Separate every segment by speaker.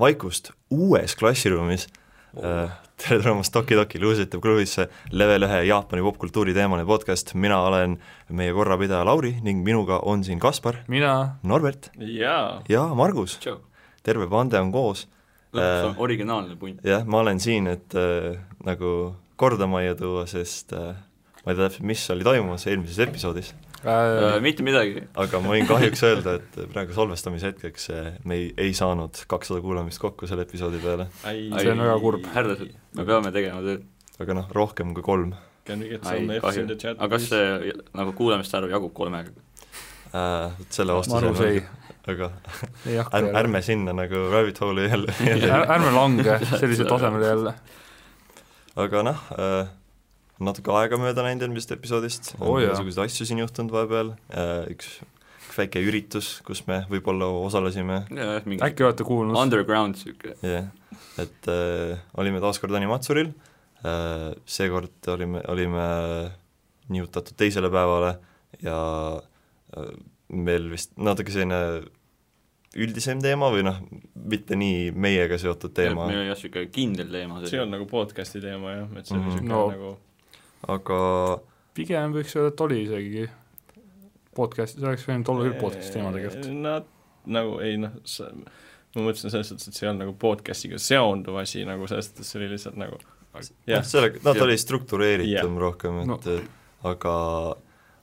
Speaker 1: vaikust uues klassiruumis oh. . tere tulemast Toki Toki Luusitav klubisse , level ühe Jaapani popkultuuri teemaline podcast , mina olen meie korrapidaja Lauri ning minuga on siin Kaspar ,
Speaker 2: mina ,
Speaker 1: Norbert
Speaker 3: jaa .
Speaker 1: ja Margus ,
Speaker 3: tšau .
Speaker 1: terve pande on koos .
Speaker 3: lõpuks on
Speaker 1: Äh.
Speaker 3: originaalne punt .
Speaker 1: jah , ma olen siin , et äh, nagu korda majja tuua , sest äh, ma ei tea täpselt , mis oli toimumas eelmises episoodis ,
Speaker 2: Äh,
Speaker 3: Äh, mitte midagi .
Speaker 1: aga ma võin kahjuks öelda , et praegu salvestamise hetkeks äh, me ei, ei saanud kakssada kuulamist kokku selle episoodi peale ,
Speaker 2: See on väga kurb.
Speaker 3: härrased , me peame tegema tööd .
Speaker 1: aga noh , rohkem kui kolm
Speaker 4: Can we get some
Speaker 3: ai ,
Speaker 4: Fs
Speaker 3: kahju
Speaker 4: in the . chat
Speaker 3: aga kas
Speaker 4: please?
Speaker 3: see nagu kuulamiste arv jagub kolmega ?
Speaker 1: äh, , vot selle vastu
Speaker 2: Margus ei ,
Speaker 1: aga
Speaker 2: ei hakka
Speaker 1: ärme , ärme sinna nagu rabbit hole'i jälle, jälle. ,
Speaker 2: ärme lange sellisele tasemele jälle .
Speaker 1: aga noh äh, , natuke aega mööda läinud eelmisest episoodist on
Speaker 2: Oo Oh, jaa.
Speaker 1: igasuguseid asju siin juhtunud vahepeal äh, , üks üks väike üritus , kus me võib-olla osalesime ,
Speaker 3: jah , mingi
Speaker 2: äkki olete kuulnud ,
Speaker 3: underground sihuke .
Speaker 1: jah yeah. , et äh, olime taas kord Animatsuril äh, , seekord olime , olime nihutatud teisele päevale ja äh, meil vist natuke selline üldisem teema või noh , mitte nii meiega seotud teema .
Speaker 3: meil oli jah , sihuke kindel teema .
Speaker 4: see on nagu podcast'i teema jah , et see oli
Speaker 1: Mhm.
Speaker 4: niisugune
Speaker 2: No.
Speaker 4: nagu
Speaker 1: aga
Speaker 2: pigem võiks öelda , et oli isegi podcast , see oleks võinud olla küll podcast'i teema tegelikult .
Speaker 4: Nad Eh, nagu ei noh , ma mõtlesin selles suhtes , et see on nagu podcast'iga seonduv asi nagu selles suhtes , see oli lihtsalt nagu
Speaker 1: jah ,
Speaker 4: jah ,
Speaker 1: noh, sellega , no ta
Speaker 4: jah.
Speaker 1: oli struktureeritum yeah. rohkem , et
Speaker 2: No.
Speaker 1: no. aga ,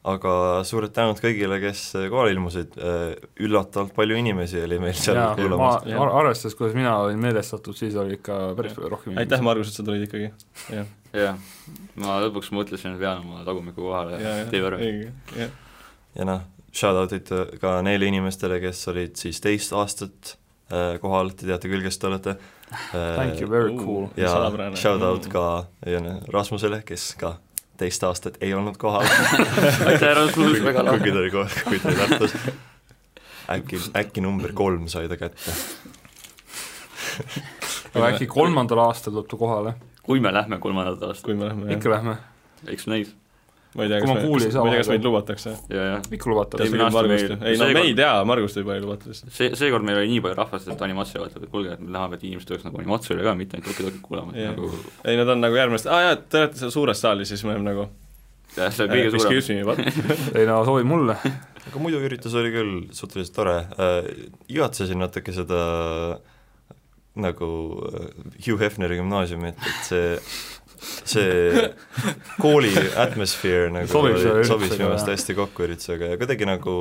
Speaker 1: aga suured tänud kõigile , kes kohale ilmusid , üllatavalt palju inimesi oli meil seal
Speaker 2: jaa , ma
Speaker 1: kuulamas .
Speaker 4: Jah.
Speaker 2: ar- arvestades , kuidas mina olin meelestatud , siis oli ikka päris palju rohkem
Speaker 4: aitäh ,. Margus , et sa tulid ikkagi . jah ,
Speaker 3: jah , ma lõpuks mõtlesin , et pean oma tagumiku kohale
Speaker 4: ja ,
Speaker 3: ja teeb
Speaker 4: ja
Speaker 3: ära ,.
Speaker 4: jah ,
Speaker 1: ja noh , shout-out'id ka neile inimestele , kes olid siis teist aastat äh, kohal , te teate küll , kes te olete .
Speaker 2: Thank you , very cool .
Speaker 1: ja
Speaker 4: salapärane.
Speaker 1: shout-out
Speaker 4: Mm.
Speaker 1: ka ja, noh, Rasmusele , kes ka teist aastat ei olnud kohal ,
Speaker 3: aitäh , Rasmus , väga
Speaker 1: kuigi ta
Speaker 3: lahe .
Speaker 1: oli kohal , kui ta tähtas . äkki , äkki number kolm sai ta kätte .
Speaker 2: aga äkki kolmandal aastal tuleb ta kohale ,
Speaker 3: kui me lähme kolmandat aastat ,
Speaker 4: kui me lähme
Speaker 2: ikka
Speaker 4: jah ,
Speaker 2: lähme ,
Speaker 3: eks näis .
Speaker 4: ma ei tea ,
Speaker 2: kui
Speaker 4: kas
Speaker 2: ma
Speaker 4: me ,
Speaker 2: kuuli ei saa
Speaker 4: ma ei tea , kas
Speaker 2: vahepeal.
Speaker 4: meid lubatakse .
Speaker 3: ja , ja
Speaker 2: ikka lubatakse .
Speaker 3: Eelmine aasta meil-
Speaker 4: ei no
Speaker 3: seekord-
Speaker 4: me ei tea , Margust võib-olla ei lubata lihtsalt .
Speaker 3: see , seekord meil oli nii palju rahvast , et animatsioon vaatab , et kuulge , et me tahame , et inimesed tuleks nagu animatsioonile ka , mitte ainult Toki Tokit kuulama , et
Speaker 4: Jah.
Speaker 3: nagu
Speaker 4: ei , nad on nagu järgmist , aa jaa , te olete seal suures saalis , siis me oleme nagu
Speaker 3: jah , see on
Speaker 4: eh,
Speaker 3: kõige suurem .
Speaker 4: excuse me , what ?
Speaker 2: ei no soovi mulle ,
Speaker 1: aga muidu üritus oli küll suhteliselt tore äh, , igatsesin natuke seda nagu äh, Hugh Hefneri gümnaasiumit , et see , see kooli atmosfäär nagu
Speaker 2: Sobib selle
Speaker 1: oli-
Speaker 2: üritusega,
Speaker 1: sobis minu meelest
Speaker 2: jah.
Speaker 1: hästi kokku üritusega ja kuidagi nagu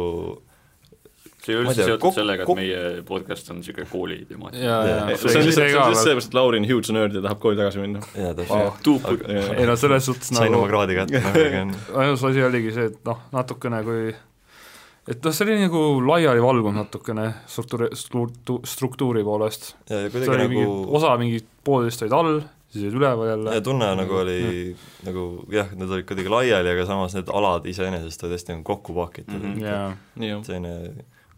Speaker 3: see ei ole
Speaker 1: Ma ei tea,
Speaker 3: üldse seotud
Speaker 1: kok-
Speaker 3: sellega ,
Speaker 1: kok-
Speaker 3: et meie podcast on niisugune kooli temaatika .
Speaker 2: jaa ,
Speaker 1: Jaa.
Speaker 2: jaa .
Speaker 4: see on lihtsalt , see on lihtsalt sellepärast , et Lauri on huge nerd ja tahab kooli tagasi minna .
Speaker 1: jaa , täpselt ,
Speaker 3: tuupud ,
Speaker 4: jah.
Speaker 2: ei no selles suhtes
Speaker 1: sain
Speaker 2: nagu
Speaker 1: oma kraadi kätte , aga on
Speaker 2: ainus asi oligi see , et noh , natukene kui et noh , see oli nagu laialivalguv natukene struktuuri , struktuuri poolest .
Speaker 1: ja , ja
Speaker 2: see oli
Speaker 1: kuidagi
Speaker 2: nagu... mingi
Speaker 1: nagu ,
Speaker 2: osa mingi poolteist olid all , siis olid üleval jälle
Speaker 1: ja , tunne nagu oli nagu jah , need olid kuidagi laiali , aga samas need alad iseenesest olid hästi nagu kokku pakitud mm ,
Speaker 3: Mhm.
Speaker 1: -hmm.
Speaker 2: jaa ,
Speaker 4: nii ,
Speaker 1: selline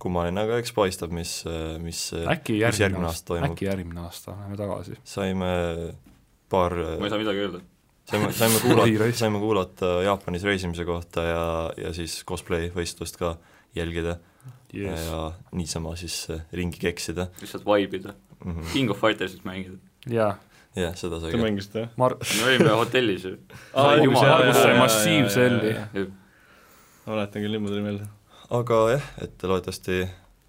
Speaker 1: kummaline , aga eks paistab , mis , mis
Speaker 2: äkki
Speaker 1: mis
Speaker 2: järgmine
Speaker 1: järgmine
Speaker 2: aasta ,
Speaker 1: aasta toimub ,
Speaker 2: äkki järgmine aasta läheme tagasi .
Speaker 1: saime paar ,
Speaker 3: ma ei saa midagi öelda .
Speaker 1: saime , saime kuulata ,
Speaker 2: Reis.
Speaker 1: saime kuulata Jaapanis reisimise kohta ja , ja siis cosplay võistlust ka jälgida yes.
Speaker 2: Yes.
Speaker 1: ja niisama siis äh, ringi keksida
Speaker 3: lihtsalt vaibida ,
Speaker 1: mm . -hmm.
Speaker 3: King of Fighters'it mängida .
Speaker 2: jaa ,
Speaker 1: jah , seda sai
Speaker 4: te
Speaker 1: ka .
Speaker 4: mängisite jah ?
Speaker 2: Mar- ,
Speaker 3: me olime hotellis ju .
Speaker 4: Aa,
Speaker 3: Sai
Speaker 4: õigus,
Speaker 3: jumal-
Speaker 4: jaa,
Speaker 3: Margus
Speaker 4: jaa,
Speaker 3: sai
Speaker 4: jaa,
Speaker 2: massiivse
Speaker 4: jaa, jaa,
Speaker 2: helli.
Speaker 4: jaa. ma mäletan küll , nüüd mul tuli meelde .
Speaker 1: aga jah , et loodetavasti ,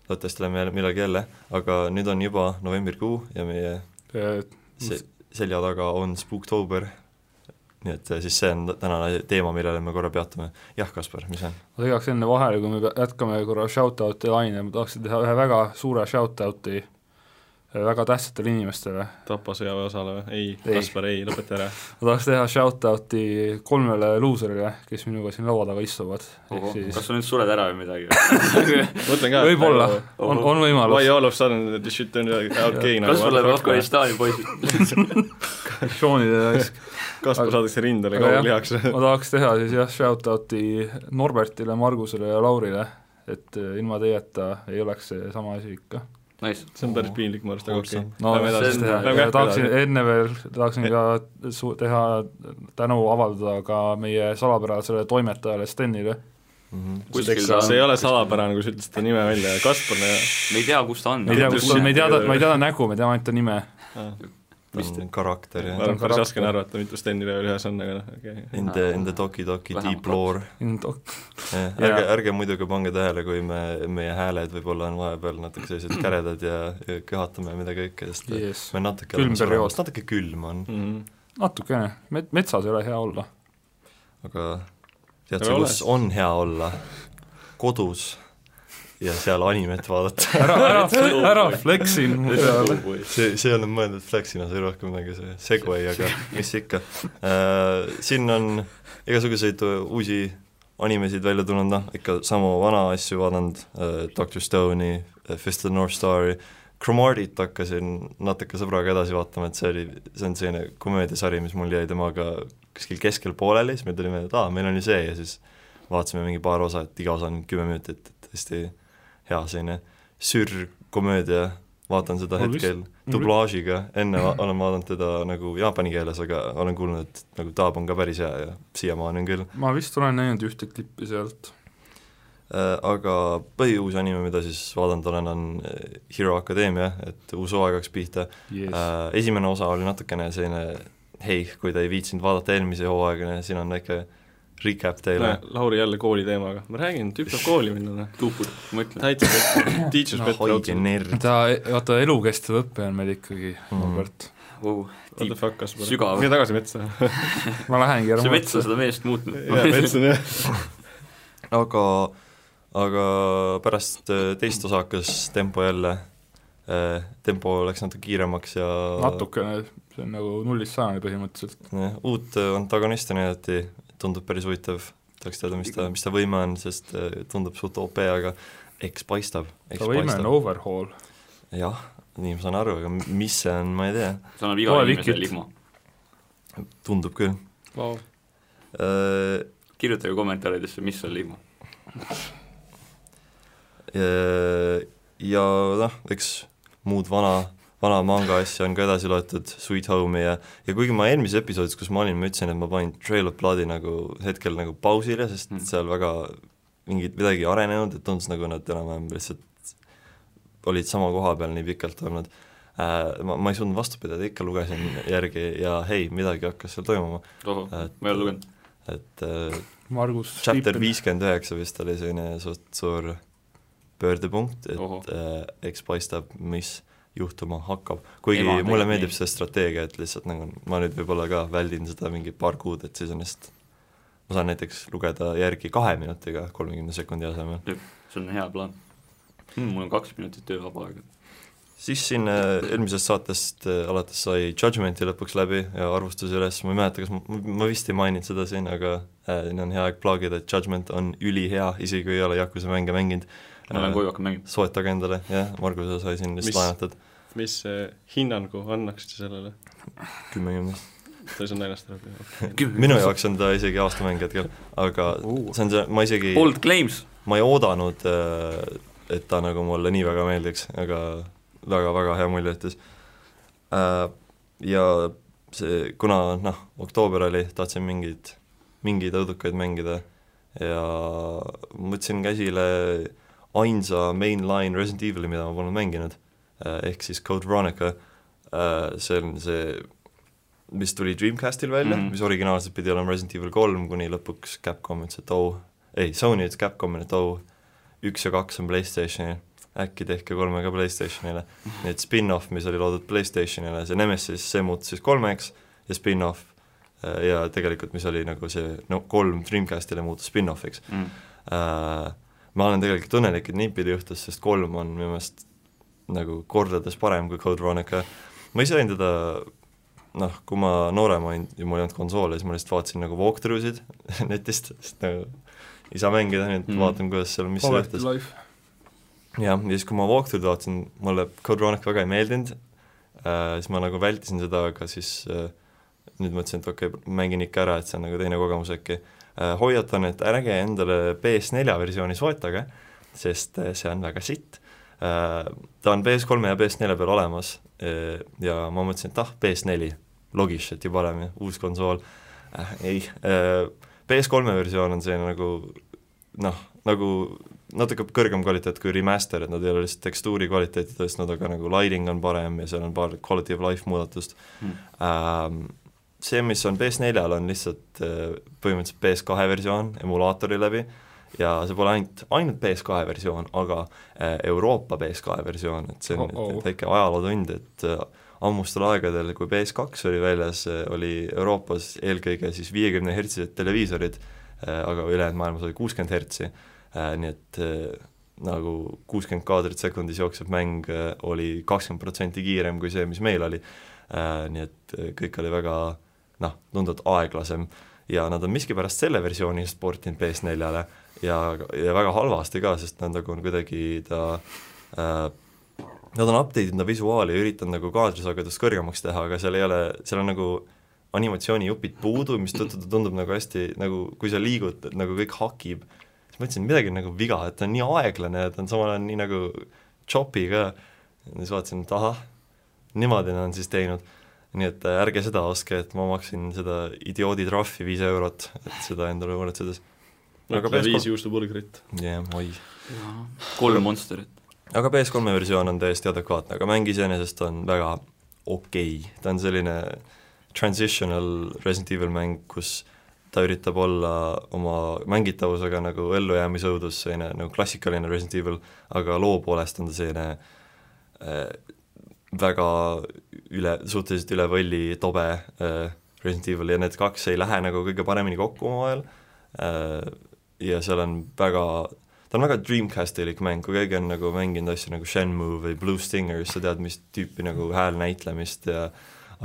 Speaker 1: loodetavasti lähme jälle millalgi jälle , aga nüüd on juba novembrikuu ja meie
Speaker 2: äh,
Speaker 1: se- , selja taga on Spooktober , nii et äh, siis see on tänane teema , millele me korra peatume . jah , Kaspar , mis on ?
Speaker 2: ma segaks enne vahele , kui me pea- jätkame korra shout-out'i laine , ma tahaksin teha ühe väga suure shout-out'i äh, väga tähtsatele inimestele .
Speaker 4: Tapa sõjaväe osale või ? ei,
Speaker 2: Ei.
Speaker 4: ei. , Kaspar , ei , lõpeta ära .
Speaker 2: ma tahaks teha shout-out'i kolmele luuserile , kes minuga siin laua taga istuvad , ehk siis
Speaker 3: kas sa nüüd sured ära või midagi ?
Speaker 4: mõtlen ka .
Speaker 2: võib-olla , on , on
Speaker 4: Why
Speaker 2: võimalus ,
Speaker 4: all of a sudden the shit turned out gay nagu .
Speaker 3: kas me oleme ? Afganistani poisid ?
Speaker 2: Seanile näiteks ,
Speaker 4: Kaspar saadakse rindele
Speaker 2: Aga jah.
Speaker 4: kaugulihaks .
Speaker 2: ma tahaks teha siis jah , shout-out'i Norbertile , Margusele ja Laurile , et eh, ilma teieta ei oleks see sama asi ikka .
Speaker 3: Nice ,
Speaker 4: see on päris piinlik mu arust , aga okei
Speaker 1: Awesome. .
Speaker 2: no
Speaker 4: Lähme
Speaker 2: siis
Speaker 3: edasi.
Speaker 2: teha
Speaker 4: Lähme
Speaker 2: ja
Speaker 4: kähku
Speaker 2: tahaksin
Speaker 4: edasi.
Speaker 2: enne veel , tahaksin ka su- , teha tänu avaldada ka meie salapärasele toimetajale Stenile ,
Speaker 1: Mhm.
Speaker 3: kuskil
Speaker 4: see
Speaker 3: ta
Speaker 4: see ei ole
Speaker 3: on ,
Speaker 4: salapärane , kui sa ütlesid ta nime välja , Kaspar ,
Speaker 3: me ei tea , kus ta on .
Speaker 2: me ei tea ,
Speaker 4: Ütle
Speaker 2: kus ta on ,
Speaker 4: sulle.
Speaker 2: me ei tea , me ei tea ta nägu , me teame ainult ta nime .
Speaker 1: ta
Speaker 4: Vist-
Speaker 1: on karakter
Speaker 4: ma
Speaker 1: ja
Speaker 2: Ta on
Speaker 4: arvan , päris
Speaker 2: karakter.
Speaker 4: raske on arvata , mitu Steni veel ühes on , aga noh , okei okay. .
Speaker 1: in the , in the Toki Toki
Speaker 3: Vähemalt
Speaker 1: deep lore . jah ,
Speaker 2: Jaa.
Speaker 1: ärge , ärge muidugi pange tähele , kui me , meie hääled võib-olla on vahepeal natuke sellised käredad ja, ja köhatame ja mida kõike , sest
Speaker 2: Yes.
Speaker 1: me natuke
Speaker 2: Külm
Speaker 1: oleme
Speaker 2: periood.
Speaker 1: suremas , natuke külm on ,
Speaker 4: Mm -hmm.
Speaker 2: natukene , met- , metsas ei ole hea olla .
Speaker 1: aga tead
Speaker 4: Aga
Speaker 1: sa ,
Speaker 4: ole
Speaker 1: kus on hea olla ? kodus ja seal animet vaadata .
Speaker 2: ära , ära , ära flexi mu peale .
Speaker 1: see , see ei olnud mõeldud flex'ina , see oli rohkem nagu see segway , aga mis ikka . Siin on igasuguseid uusi animesid välja tulnud , noh ikka samu vana asju vaadanud , Doctor Stone'i , Fist of the North Star'i , Cromartie't hakkasin natuke sõbraga edasi vaatama , et see oli , see on selline komöödiasari , mis mul jäi temaga kuskil keskel pooleli , siis me tulime , et aa , meil oli see ja siis vaatasime mingi paar osa , et iga osa on kümme minutit , et hästi hea selline sürkomöödia , vaatan seda
Speaker 2: Mul vist-
Speaker 1: hetkel
Speaker 2: mul-
Speaker 1: dublaažiga , enne va- olen vaadanud teda nagu jaapani keeles , aga olen kuulnud , et nagu taab on ka päris hea ja siiamaani on küll .
Speaker 2: ma vist olen näinud ühte klippi sealt .
Speaker 1: Äh, aga põhiuus anime , mida siis vaadanud olen , on äh, Hero Academia , et uus hooaeg hakkas pihta
Speaker 2: jess ,
Speaker 1: äh, . esimene osa oli natukene selline hei , kui te ei väitsinud vaadata eelmise hooaegana , siin on väike recap teile .
Speaker 4: Lauri jälle kooli teemaga , ma räägin , tüüp saab kooli minna , noh .
Speaker 3: tuupud , ma ütlen .
Speaker 4: täitsa pet- , teacher's
Speaker 2: No,
Speaker 4: pet
Speaker 1: hoidke
Speaker 4: raudselt .
Speaker 1: nerd .
Speaker 2: ta , vaata elukestev õpe on meil ikkagi ,
Speaker 1: Mhm.
Speaker 2: Robert . oh.
Speaker 4: What the fuck , Kaspar .
Speaker 3: Sügav.
Speaker 4: mine tagasi metsa .
Speaker 2: ma lähengi ära
Speaker 3: see mets on . seda meest
Speaker 4: jaa ,
Speaker 3: muutnud .
Speaker 4: mets on jah .
Speaker 1: aga , aga pärast äh, teist osa hakkas tempo jälle äh, tempo läks natuke kiiremaks ja
Speaker 2: natukene , see on nagu nullist sajani põhimõtteliselt .
Speaker 1: jah, uut äh, antagonisti näidati , tundub päris huvitav , tahaks teada , mis ta , mis ta võime on , sest äh, tundub suht OP , aga eks paistab , eks
Speaker 2: ta võime on
Speaker 1: paistab .
Speaker 2: overhaul .
Speaker 1: jah , nii ma saan aru , aga mis see on , ma ei tea ,
Speaker 3: see annab igale
Speaker 2: Loe
Speaker 3: inimesele
Speaker 2: Vikit.
Speaker 3: lihma .
Speaker 1: tundub küll . Äh,
Speaker 3: kirjutage kommentaaridesse , mis on lihma .
Speaker 1: ja, Äh, ja noh , eks muud vana , vana manga asja on ka edasi loetud , Sweet Home'i ja ja kuigi ma eelmises episoodis , kus ma olin , ma ütlesin , et ma panin Trail of Blood'i nagu hetkel nagu pausile , sest
Speaker 3: Mm.
Speaker 1: mm. seal väga mingit midagi ei arenenud , et tundus nagu nad enam-vähem lihtsalt olid sama koha peal nii pikalt olnud äh, . Ma , ma ei suutnud vastu pidada , ikka lugesin järgi ja hei , midagi hakkas seal toimuma ,
Speaker 3: tohoh ,
Speaker 1: Et-
Speaker 3: ma ei ole lugenud .
Speaker 1: et äh,
Speaker 2: Margus .
Speaker 1: chapter . viiskümmend üheksa vist oli selline suht suur pöördepunkt ,
Speaker 3: Ohoh.
Speaker 1: et äh, eks paistab , mis juhtuma hakkab . kuigi Ema,
Speaker 3: Ema on
Speaker 1: mulle
Speaker 3: tegelikult
Speaker 1: meeldib
Speaker 3: nii.
Speaker 1: see strateegia , et lihtsalt nagu ma nüüd võib-olla ka väldin seda mingi paar kuud , et siis on lihtsalt ma saan näiteks lugeda järgi kahe minutiga kolmekümne sekundi asemel .
Speaker 3: see on hea plaan hmm, . mul on kaks minutit töövaba aega .
Speaker 1: siis siin äh, eelmisest saatest äh, alates sai Judgmenti lõpuks läbi ja arvustus üles , ma ei mäleta , kas ma , ma vist ei maininud seda siin , aga äh, on hea aeg plaagida , et Judgment on ülihea , isegi kui ei ole Yakuza mänge mänginud . Äh,
Speaker 3: ma
Speaker 2: Äh.
Speaker 3: lähen koju , hakkan mängima .
Speaker 1: soetage endale , jah , Margus sai siin
Speaker 4: Mis-
Speaker 1: vist laenatud
Speaker 4: mis eh, hinnangu annaksite sellele ?
Speaker 1: kümme kümnest .
Speaker 4: ta ei saanud ennast ära teha .
Speaker 1: minu jaoks on ta isegi aastamäng hetkel , aga
Speaker 2: Uh.
Speaker 1: see on see , ma isegi ,
Speaker 3: Bold claims .
Speaker 1: ma ei oodanud , et ta nagu mulle nii väga meeldiks , aga väga-väga hea mulje jättis . Ja see , kuna noh , oktoober oli , tahtsin mingeid , mingeid õudukaid mängida ja mõtlesin käsile ainsa mainline Resident Evil'i , mida ma polnud mänginud , ehk siis Code Veronica , see on see , mis tuli Dreamcastil välja mm ,
Speaker 3: Mhm.
Speaker 1: -hmm. mis originaalselt pidi olema Resident Evil kolm , kuni lõpuks Capcom ütles , et oo , ei , Sony ütles Capcomile , et oo , üks ja kaks on Playstationil , äkki tehke kolme ka Playstationile . nii et spin-off , mis oli loodud Playstationile , see Nemesis , see muutus siis kolmeks ja spin-off äh, ja tegelikult , mis oli nagu see no kolm Dreamcastile muutus spin-offiks
Speaker 3: Mm.
Speaker 1: äh, . ma olen tegelikult õnnelik , et niipidi juhtus , sest kolm on minu meelest nagu kordades parem kui Code Veronica . ma ise olin teda noh , kui ma noorem olin ja mul ei olnud konsoole , siis ma lihtsalt vaatasin nagu walkthrough sid netist , sest nagu ei saa mängida , nii et
Speaker 3: Mhm.
Speaker 1: mm. vaatan , kuidas seal , mis seal
Speaker 2: Poverty
Speaker 1: juhtus .
Speaker 2: life .
Speaker 1: jah , ja siis , kui ma walkthrough'd vaatasin , mulle Code Veronica väga ei meeldinud äh, , siis ma nagu vältisin seda , aga siis äh, nüüd mõtlesin , et okei okay, , mängin ikka ära , et see on nagu teine kogemus äkki äh, . hoiatan , et ärge endale PS4 versiooni soetage , sest äh, see on väga sitt äh, . ta on PS3 ja PS4 peal olemas äh, ja ma mõtlesin , et ah , PS4 , logish , et ju parem ja uus konsool äh, , ei äh, , PS3 versioon on selline nagu noh , nagu natuke kõrgem kvaliteet kui remaster , et nad ei ole lihtsalt tekstuuri kvaliteeti tõstnud , aga nagu lighting on parem ja seal on paar quality of life muudatust
Speaker 3: Hmm.
Speaker 1: ähm, . see , mis on PS4-l , on lihtsalt äh, põhimõtteliselt PS2 versioon emulaatori läbi ja see pole ainult , ainult PS2 versioon , aga äh, Euroopa PS2 versioon , et see on
Speaker 2: Oh-oh.
Speaker 1: nüüd väike ajalootund , et äh, ammustel aegadel , kui PS2 oli väljas , oli Euroopas eelkõige siis viiekümne hertsised televiisorid , Äh, aga ülejäänud maailmas oli kuuskümmend hertsi , nii et eh, nagu kuuskümmend kaadrit sekundis jooksev mäng eh, oli kakskümmend protsenti kiirem kui see , mis meil oli , nii et eh, kõik oli väga noh , tunduvalt aeglasem ja nad on miskipärast selle versiooni sportinud PS4-le ja , ja väga halvasti ka , sest nad nagu on kuidagi ta äh, Nad on update inud visuaali ja üritanud nagu kaadrisagedust kõrgemaks teha , aga seal ei ole , seal on nagu animatsioonijupid puudu , mistõttu ta tundub nagu hästi nagu , kui sa liigud , et nagu kõik hakib . siis mõtlesin , midagi on nagu viga , et ta on nii aeglane ja ta on samal ajal nii nagu choppy ka . ja siis vaatasin , et ahah , niimoodi nad on siis teinud . nii et äh, ärge seda ostke , et ma maksin seda idioodi trahvi viis eurot , et seda endale muretsedes . aga
Speaker 4: ütle viis
Speaker 1: PS3 ,
Speaker 4: juustupulgrit .
Speaker 1: jah , oi .
Speaker 3: kolm Monsterit .
Speaker 1: aga PS3-e versioon on täiesti adekvaatne , aga mäng iseenesest on väga okei okay. , ta on selline transitional Resident Evil mäng , kus ta üritab olla oma mängitavusega nagu ellujäämisõudus , selline nagu klassikaline Resident Evil , aga loo poolest on ta selline äh, väga üle , suhteliselt üle võlli tobe äh, Resident Evil ja need kaks ei lähe nagu kõige paremini kokku omavahel äh, ja seal on väga ta on väga Dreamcast-ilik mäng , kui keegi on nagu mänginud asju nagu Shenmue või Blue Stinger , siis sa tead , mis tüüpi nagu hääl näitlemist ja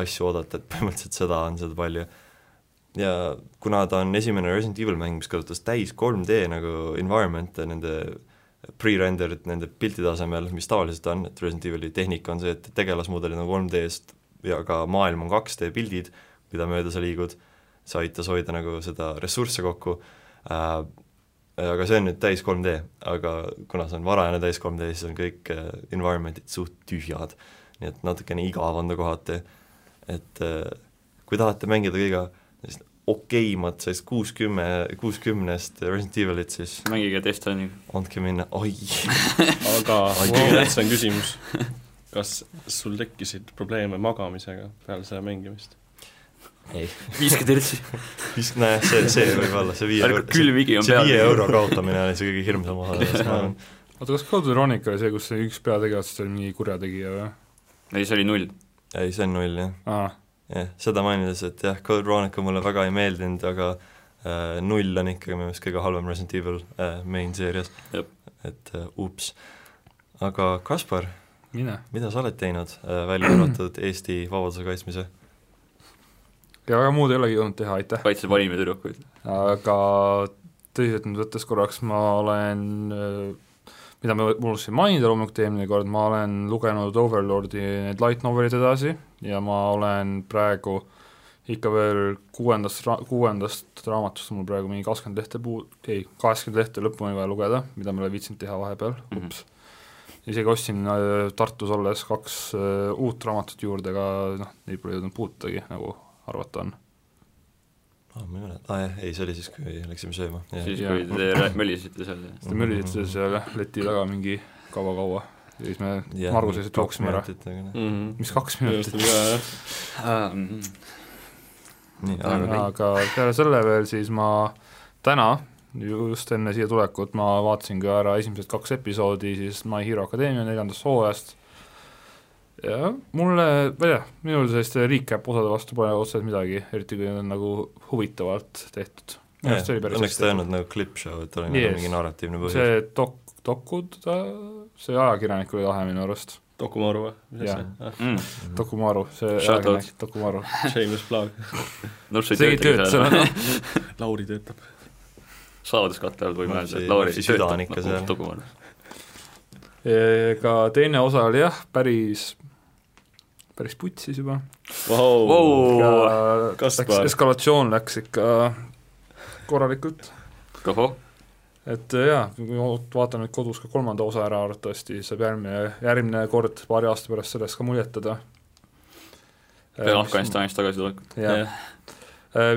Speaker 1: asju oodata , et põhimõtteliselt seda on seal palju . ja kuna ta on esimene Resident Evil mäng , mis kasutas täis 3D nagu environment'e nende pre-renderit nende piltide asemel , mis tavaliselt on , et Resident Evili tehnika on see , et tegelasmudelid on 3D-st ja ka maailm on 2D pildid , mida mööda sa liigud , see aitas hoida nagu seda ressursse kokku äh, , aga see on nüüd täis 3D , aga kuna see on varajane täis 3D , siis on kõik äh, environment'id suht tühjad . nii et natukene igav on ta kohati , et äh, kui tahate mängida kõige sellist okeimat , sellist kuuskümme , kuuskümnest Resident Evilit , siis
Speaker 3: mängige Destiny'ga .
Speaker 1: andke minna , oi ,
Speaker 4: aga
Speaker 1: Ai,
Speaker 4: mul on see küsimus , kas sul tekkisid probleeme magamisega peale seda mängimist ?
Speaker 1: ei ,
Speaker 3: viiskümmend hertsi .
Speaker 1: mis , näe , see , see võib olla see viie
Speaker 3: ärge külmvigi on
Speaker 1: see viie euro
Speaker 3: peal .
Speaker 1: kaotamine oli see kõige hirmsam osa sellest , ma arvan .
Speaker 2: oota , kas Code Veronica oli see , kus see üks peategelastest oli mingi kurjategija või ?
Speaker 3: ei , see oli null .
Speaker 1: ei , see on null , jah .
Speaker 2: aa ,
Speaker 1: jah , seda mainides , et jah , Code Veronica mulle väga ei meeldinud , aga äh, null on ikkagi minu meelest kõige halvem Resident Evil äh, main seerias
Speaker 3: Jep. .
Speaker 1: et äh, ups . aga Kaspar ,
Speaker 2: mine .
Speaker 1: mida sa oled teinud äh, , välja arvatud Eesti vabaduse kaitsmise ?
Speaker 2: ja väga muud ei olegi jõudnud teha , aitäh .
Speaker 3: kaitse valime tüdrukuid .
Speaker 2: aga tõsiselt nüüd võttes korraks ma olen , mida me unustasin mainida loomulikult eelmine kord , ma olen lugenud Overlordi neid light novelid edasi ja ma olen praegu ikka veel kuuendast , kuuendast raamatust on mul praegu mingi kakskümmend lehte puu- , ei , kaheksakümmend lehte lõpuni vaja lugeda , mida ma ei ole viitsinud teha vahepeal ,
Speaker 3: Mhm.
Speaker 2: ups . isegi ostsin äh, Tartus olles kaks äh, uut raamatut juurde , aga noh , neid pole jõudnud puutagi , nagu arvata on .
Speaker 1: aa , Ah, ma ei mäleta , aa jah , ei , see oli siis , kui läksime sööma , jah .
Speaker 3: siis ,
Speaker 2: Jaa.
Speaker 3: kui te rää- mölisite seal .
Speaker 2: siis ta mölitas
Speaker 1: Mhm.
Speaker 2: seal jah , leti taga mingi kaua-kaua ja siis me
Speaker 1: Jah,
Speaker 2: Margus lihtsalt
Speaker 1: kaks
Speaker 2: jooksime ära.
Speaker 1: minutit, aga noh.
Speaker 3: Mm.
Speaker 4: minu
Speaker 2: mis kaks
Speaker 4: arust
Speaker 2: minutit ,
Speaker 4: oli ka jah ,
Speaker 2: mhm.
Speaker 1: nii , aga
Speaker 2: aga peale selle veel siis ma täna , just enne siia tulekut ma vaatasin ka ära esimesed kaks episoodi siis My Hero Academia neljandast hooajast ja mulle , ma ei tea , minul selliste recap osade vastu pole otseselt midagi , eriti kui need on nagu huvitavalt tehtud . minu arust see oli
Speaker 1: jah,
Speaker 2: päris
Speaker 1: õnneks
Speaker 2: hästi
Speaker 1: ta ei
Speaker 2: tehtud.
Speaker 1: olnud nagu klipp-show , et tal oli nagu
Speaker 2: Yes.
Speaker 1: mingi narratiivne põhjus .
Speaker 2: see dok- , dokud , see ajakirjanik oli lahe minu arust ,
Speaker 4: Dokumaru või ? mis
Speaker 2: Jah.
Speaker 4: see ah, ,
Speaker 3: Mm.
Speaker 1: Mhm.
Speaker 2: Dokumaru , see
Speaker 3: Shout out.
Speaker 2: ajakirjanik , Dokumaru .
Speaker 4: Shameless plug ,
Speaker 3: noh , sa
Speaker 2: see
Speaker 3: ei
Speaker 2: ei tööta
Speaker 3: tööta seal .
Speaker 2: seal ,
Speaker 4: Lauri töötab .
Speaker 3: saladuskatte all võime
Speaker 1: No
Speaker 3: öelda ,
Speaker 1: see-
Speaker 3: et Lauri nagu
Speaker 1: see süda on ikka seal.
Speaker 3: seal .
Speaker 2: ega teine osa oli jah , päris , päris putsis juba .
Speaker 4: Vau , Kaspar.
Speaker 2: eskalatsioon läks ikka korralikult ,
Speaker 3: tohoh ,
Speaker 2: et äh, jaa , vaatan nüüd kodus ka kolmanda osa ära , arvatavasti saab järgmine , järgmine kord paari aasta pärast sellest ka muljetada . Äh,
Speaker 3: peale Afganistanist tagasitulekut ,
Speaker 2: jah ,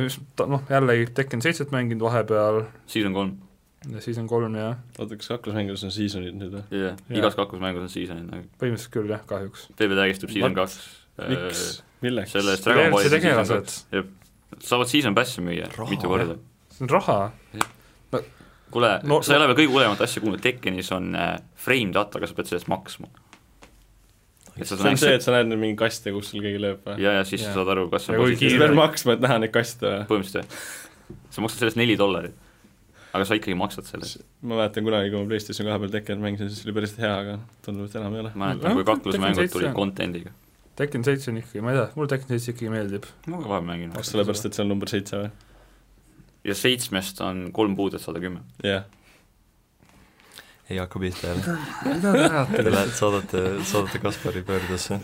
Speaker 2: mis ta noh , jällegi Tekken seitset mänginud vahepeal ,
Speaker 3: season kolm .
Speaker 2: season kolm jah ,
Speaker 4: oota , kas kaklusmängudes on seasonid nüüd või ?
Speaker 3: jah , igas kaklusmängus on season'id nagu ,
Speaker 2: põhimõtteliselt küll jah , kahjuks .
Speaker 3: PB tägistab season
Speaker 4: What?
Speaker 3: kaks . Äh,
Speaker 4: miks ? milleks ?
Speaker 3: selle eest Dragon Ballis
Speaker 2: DLC
Speaker 3: on season kaks ,
Speaker 2: tegelased ,
Speaker 3: saavad season pass'i müüa
Speaker 1: Raha,
Speaker 3: mitu korda .
Speaker 2: see on raha ,
Speaker 3: kuule
Speaker 2: No-
Speaker 3: no, , sa ei ole veel kõige hullemat asja kuulnud , Tekkenis on äh, frame data , aga sa pead selle eest maksma . et sa
Speaker 4: see on see ,
Speaker 3: näeksid
Speaker 4: et sa näed nüüd mingeid kaste , kus sul keegi lööb või ?
Speaker 3: ja , ja siis
Speaker 2: Jaa.
Speaker 3: sa saad aru , kas see
Speaker 2: Ja
Speaker 3: on
Speaker 2: kui
Speaker 4: sa pead
Speaker 2: kiire-
Speaker 3: positiivne ,
Speaker 4: maksma , et näha neid kaste või ?
Speaker 3: põhimõtteliselt jah . sa maksad selle eest neli dollarit , aga sa ikkagi maksad selle eest .
Speaker 4: ma mäletan kunagi , kui ma PlayStation kahe peal Tekken mängisin , siis oli päris hea , aga tundub , et enam ei ole .
Speaker 3: mäletan , kui
Speaker 2: Nojah, Tekken
Speaker 3: kaklusmängud
Speaker 2: seitse.
Speaker 3: tulid content'iga .
Speaker 2: Tekken seitse on ikkagi , ma ei tea , mulle Tekken seitse ikkagi meeldib .
Speaker 3: ma ka vahel mängin .
Speaker 4: kas sellepärast , et see on number seitse või ?
Speaker 3: ja seitsmest on kolm puud , et sada kümme .
Speaker 4: jah ,
Speaker 1: ei hakka pihta jälle .
Speaker 2: mida te
Speaker 1: Te
Speaker 2: ajate ?
Speaker 1: lähete , saadate , saadate Kaspari pöördesse .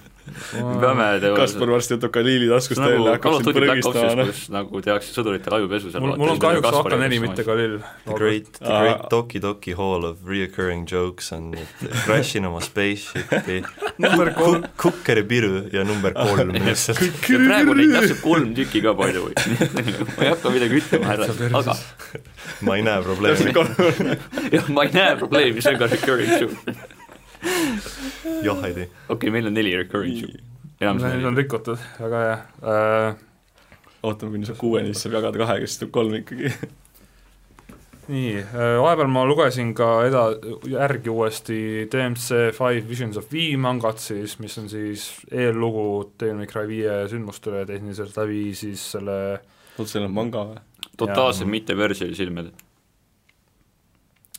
Speaker 3: me peame
Speaker 4: Kaspar varsti võtab kaliili
Speaker 3: see
Speaker 4: taskust
Speaker 3: on
Speaker 4: välja ,
Speaker 3: nagu Call of
Speaker 4: hakkab
Speaker 3: Duty
Speaker 4: sind
Speaker 3: Black
Speaker 4: põrgistama ,
Speaker 3: Opsis ,
Speaker 4: noh .
Speaker 3: kus nagu tehakse sõduritel ajupesu seal .
Speaker 2: mul , mul on kahjuks AK neli , mitte . Kalil .
Speaker 1: The great , the
Speaker 4: Aa.
Speaker 1: great Toki-Toki hall of reoccurring jokes on , et crash in oma spaceship'i ,
Speaker 2: number kolm ,
Speaker 1: kukkeri piru ja number kolm lihtsalt .
Speaker 3: praegu on neid täpselt kolm tükki ka palju . ma ei hakka midagi ütlema , härra , aga
Speaker 1: ma ei näe probleemi ,
Speaker 3: jah , ma ei näe probleemi , see on ka recurring show . okei
Speaker 1: jah ei tee .
Speaker 3: okay, , meil on neli recurring show .
Speaker 2: need on
Speaker 3: enamus
Speaker 2: rikutud , väga hea . Äh,
Speaker 4: ootame , kuni saab kuueni , siis saab jagada kahega , siis tuleb kolm ikkagi .
Speaker 2: nii , vahepeal ma lugesin ka eda- , järgi uuesti DMC Five Visions of V mangat siis , mis on siis eellugu Devil May Cry viie sündmustele tehniliselt läbi siis selle
Speaker 4: oota , seal on manga või ?
Speaker 3: totaalselt mitte versili silmed ,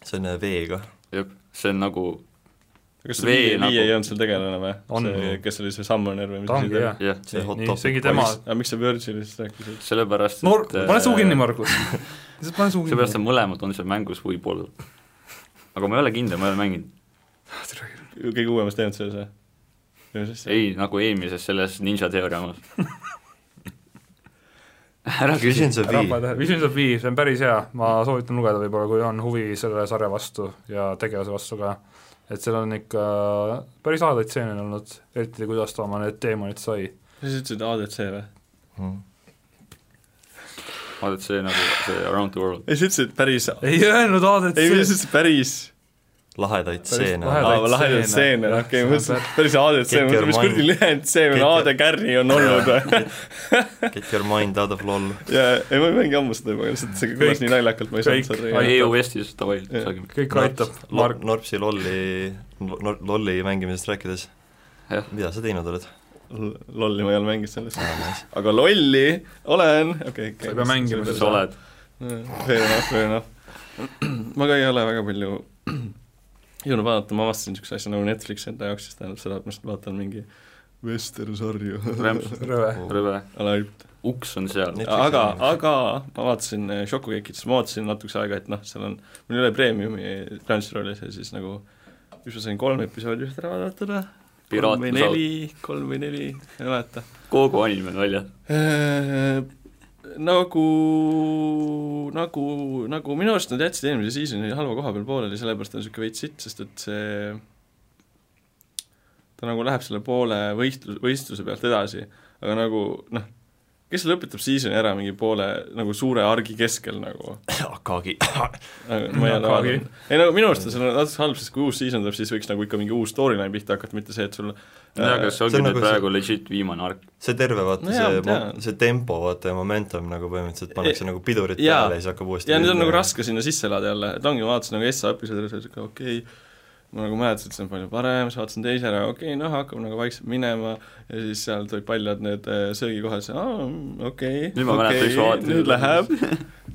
Speaker 1: see on äh, veega .
Speaker 3: see on nagu
Speaker 4: kas see
Speaker 3: Vee
Speaker 4: Vii ,
Speaker 3: nagu-
Speaker 4: Vii ei olnud seal tegelane või
Speaker 2: On. ?
Speaker 4: kes oli see Summoner või mis
Speaker 2: tangi jah .
Speaker 3: jah ,
Speaker 1: see hot
Speaker 2: Nii,
Speaker 1: topic
Speaker 2: isegi tema-
Speaker 1: poiss.
Speaker 4: aga miks sa Virginist rääkisid ?
Speaker 3: sellepärast
Speaker 2: noor ,
Speaker 3: äh,
Speaker 2: pane suu kinni , Margus . lihtsalt pane suu
Speaker 3: seepärast , et
Speaker 2: kinni .
Speaker 3: mõlemad on seal mängus võib-olla . aga ma ei ole kindel , ma ei ole mänginud .
Speaker 4: kõige uuemas DMC-s või ? ei ,
Speaker 3: ei , nagu eelmises selles Ninja teooriamas . ära küsi
Speaker 1: küsin . see
Speaker 2: ära
Speaker 1: vii ,
Speaker 2: pane tähele , Visions of V , see on päris hea , ma soovitan lugeda võib-olla , kui on huvi selle sarja vastu ja tegelase vastu ka . et seal on ikka päris lahedaid stseene olnud , eriti kuidas ta oma need teemonid sai .
Speaker 4: sa ütlesid ADC või ?
Speaker 3: vaadata see nagu see Around the World .
Speaker 4: ei , sa ütlesid päris ,
Speaker 2: ei öelnud Aadet
Speaker 4: ei , sa ütlesid päris
Speaker 1: lahedaid
Speaker 2: Päris
Speaker 1: stseene .
Speaker 2: lahedaid.
Speaker 4: aa , lahedaid
Speaker 2: stseene.
Speaker 4: stseene , okei ,
Speaker 2: Jah,
Speaker 4: ma mõtlesin , et päris ADC , ma
Speaker 1: Get your
Speaker 4: mõtlesin , mis kuradi
Speaker 1: mind-
Speaker 4: lühend see on ,
Speaker 1: Get your-
Speaker 4: AD carry on olnud või ?
Speaker 1: Get your mind out of lol .
Speaker 4: ja , ei ma ei mängi ammu seda juba , lihtsalt see
Speaker 2: Kõik.
Speaker 4: kõlas nii naljakalt , ma ei
Speaker 2: Kõik.
Speaker 4: saanud seda
Speaker 3: ai ,
Speaker 4: teha .
Speaker 3: EOS-is davai ,
Speaker 4: Jah.
Speaker 3: saagime .
Speaker 2: kõik aitab , Mark ,
Speaker 1: Norpsi lolli , lolli mängimisest rääkides
Speaker 3: Jah. ,
Speaker 1: mida sa teinud oled ?
Speaker 4: lolli ma ei ole mänginud sellest , aga lolli olen , okei .
Speaker 2: Sa ei pea mängima seda.
Speaker 3: kus sa oled ?
Speaker 4: Fair enough , fair enough . ma ka ei ole väga palju jõudnud vaadata , ma avastasin niisuguse asja nagu Netflix enda jaoks , siis tähendab seda , et ma lihtsalt vaatan mingi Western-sarju
Speaker 3: Rämps ,
Speaker 2: rõve .
Speaker 3: rõve ,
Speaker 4: alahüpp .
Speaker 3: uks on seal .
Speaker 1: Netflixi
Speaker 4: aga ,
Speaker 1: sarju.
Speaker 4: aga ma vaatasin eh, Šokukekit , siis ma vaatasin natukese aega , et noh , seal on , mul ei ole premiumi Crunchyrollis ja siis nagu just ma sain kolm episoodi just ära vaadata ,
Speaker 3: Piraat-
Speaker 4: kolm või neli , kolm või neli , ei mäleta .
Speaker 3: kogu anime on väljas .
Speaker 4: Äh, nagu , nagu , nagu minu arust nad jätsid eelmise season'i halva koha peal pooleli , sellepärast ta on niisugune veits sitt , sest et see ta nagu läheb selle poole võistlus , võistluse pealt edasi , aga nagu noh , kes lõpetab season'i ära mingi poole nagu suure argi keskel nagu ,
Speaker 1: Akagi .
Speaker 4: nagu ma ei ole
Speaker 2: Akagi.
Speaker 4: vaadanud . ei no minu arust on see natuke halb , sest kui uus season tuleb , siis võiks nagu ikka mingi uus storyline pihta hakata , mitte see , et sul
Speaker 3: jaa , aga see
Speaker 1: see on
Speaker 3: ongi nüüd
Speaker 1: nagu see-
Speaker 3: praegu legit viimane arg .
Speaker 1: see terve , vaata
Speaker 4: No
Speaker 1: no
Speaker 4: jaa,
Speaker 1: see
Speaker 4: ma , tean. E-
Speaker 1: see tempo , vaata ja momentum nagu põhimõtteliselt pannakse nagu pidurit
Speaker 4: jaa.
Speaker 1: peale ja siis hakkab uuesti
Speaker 4: ja nüüd on nagu . raske sinna sisse elada jälle , et ongi , ma vaatasin nagu SA episoodi ja siis oli okei okay. , ma nagu mäletasin , et see on palju parem , siis vaatasin teise ära , okei okay, , noh , hakkab nagu vaikselt minema ja siis seal tulid paljud need eh, söögikohad , siis aa , okei ,
Speaker 3: Nüüd ma mäletan, miks ma vaatasin
Speaker 4: nüüd
Speaker 3: seda.
Speaker 4: läheb .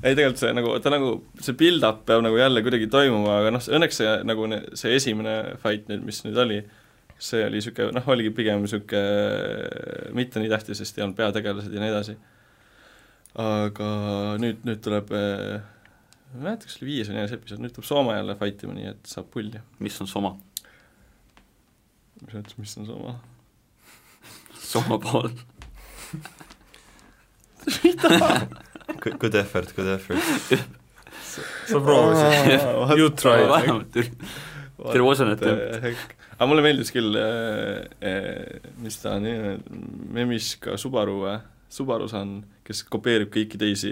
Speaker 4: ei , tegelikult see nagu , ta nagu , see build-up peab nagu jälle kuidagi toimuma , aga noh , õnneks see nagu ne- see esimene fight nüüd , mis nüüd oli , see oli niisugune , noh , oligi pigem niisugune mitte nii tähtis , sest ei olnud peategelased ja nii edasi . aga nüüd , nüüd tuleb eh, ma ei mäleta , kas oli viies või neljas episood , nüüd tuleb Soome jälle fight ima , nii et saab pulli .
Speaker 3: mis on soma ?
Speaker 4: mis mõttes , mis on Soome ?
Speaker 3: soma pool .
Speaker 1: Good effort , good effort .
Speaker 2: sa proovisid , you try .
Speaker 3: vähemalt üri- there wasn't a temp.
Speaker 4: Äh, aga mulle meeldis küll äh, , äh, mis ta nimi on , Memiska äh, Subaru või ? Subaru-san , kes kopeerib kõiki teisi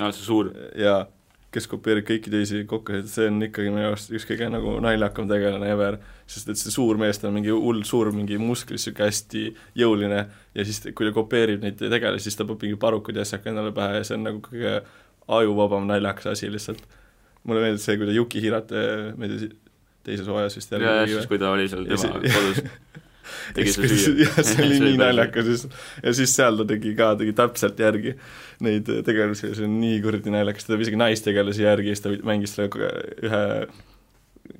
Speaker 3: no see suur ,
Speaker 4: ja kes kopeerib kõiki teisi kokkasid, see on ikkagi minu arust üks kõige nagu naljakam tegelane ever, sest et see suur mees, ta on mingi hull suur, mingi musklis, niisugune hästi jõuline ja siis, kui ta kopeerib neid tegelasi, siis ta paneb mingi parukud ja asjad endale pähe ja see on nagu kõige ajuvabam naljakas asi lihtsalt. mulle meeldis see, kui ta Yuki Hirate, ma ei tea, teises hooajas vist
Speaker 3: ja siis , kui ta oli seal
Speaker 4: Ja
Speaker 3: tema
Speaker 4: see-
Speaker 3: kodus , tegi
Speaker 4: Eks-
Speaker 3: see süüa.
Speaker 4: jah, see oli
Speaker 3: See oli
Speaker 4: nii
Speaker 3: päris-
Speaker 4: naljakas just. ja siis seal ta tegi ka , tegi täpselt järgi neid äh, tegelasi ja see on nii kuradi naljakas , ta teeb isegi naistegelasi järgi ja siis ta mängis selle k- ühe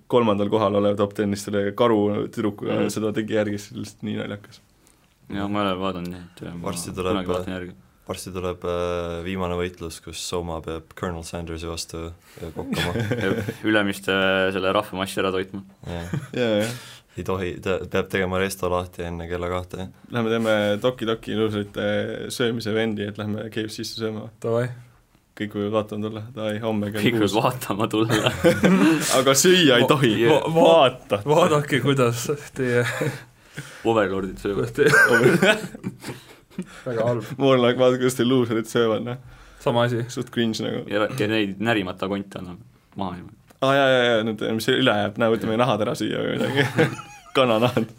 Speaker 4: kolmandal kohal oleva top tennis selle karu tüdrukuga
Speaker 3: Mhm.
Speaker 4: mm. , seda tegi järgi , see oli lihtsalt nii naljakas .
Speaker 3: jah , ma ei ole vaadanud nii , et
Speaker 1: Varsti tuleb-
Speaker 3: kunagi vaatan järgi .
Speaker 1: varsti tuleb äh, viimane võitlus , kus Soma peab Colonel Sandersi vastu äh, kokkama
Speaker 3: Ülemiste äh, selle rahvamassi ära toitma .
Speaker 1: jah ,
Speaker 4: jaa , jah .
Speaker 1: ei tohi , ta peab tegema resto lahti enne kella kahte .
Speaker 4: Lähme teeme Toki Toki ilusate söömise vendi , et lähme KFC-sse sööma ,
Speaker 2: davai .
Speaker 4: kõik võivad vaatama tulla , davai , homme kell
Speaker 3: kõik võivad
Speaker 4: kuus .
Speaker 3: vaatama tulla .
Speaker 4: aga süüa ei
Speaker 3: Va-
Speaker 4: tohi
Speaker 3: ja- ,
Speaker 4: vaata .
Speaker 2: vaadake , kuidas teie ,
Speaker 3: Overlordid söövad .
Speaker 2: kuidas teie , väga halb ,
Speaker 4: mul on , vaadake , kuidas teil luuserid söövad , noh ,
Speaker 2: sama asi .
Speaker 4: suht cringe nagu .
Speaker 3: ja , ja neid närimata konte anname maha niimoodi .
Speaker 4: aa ah, jaa , jaa , jaa , nüüd mis üle jääb , näe , võtame nahad ära süüa või midagi , kananahad .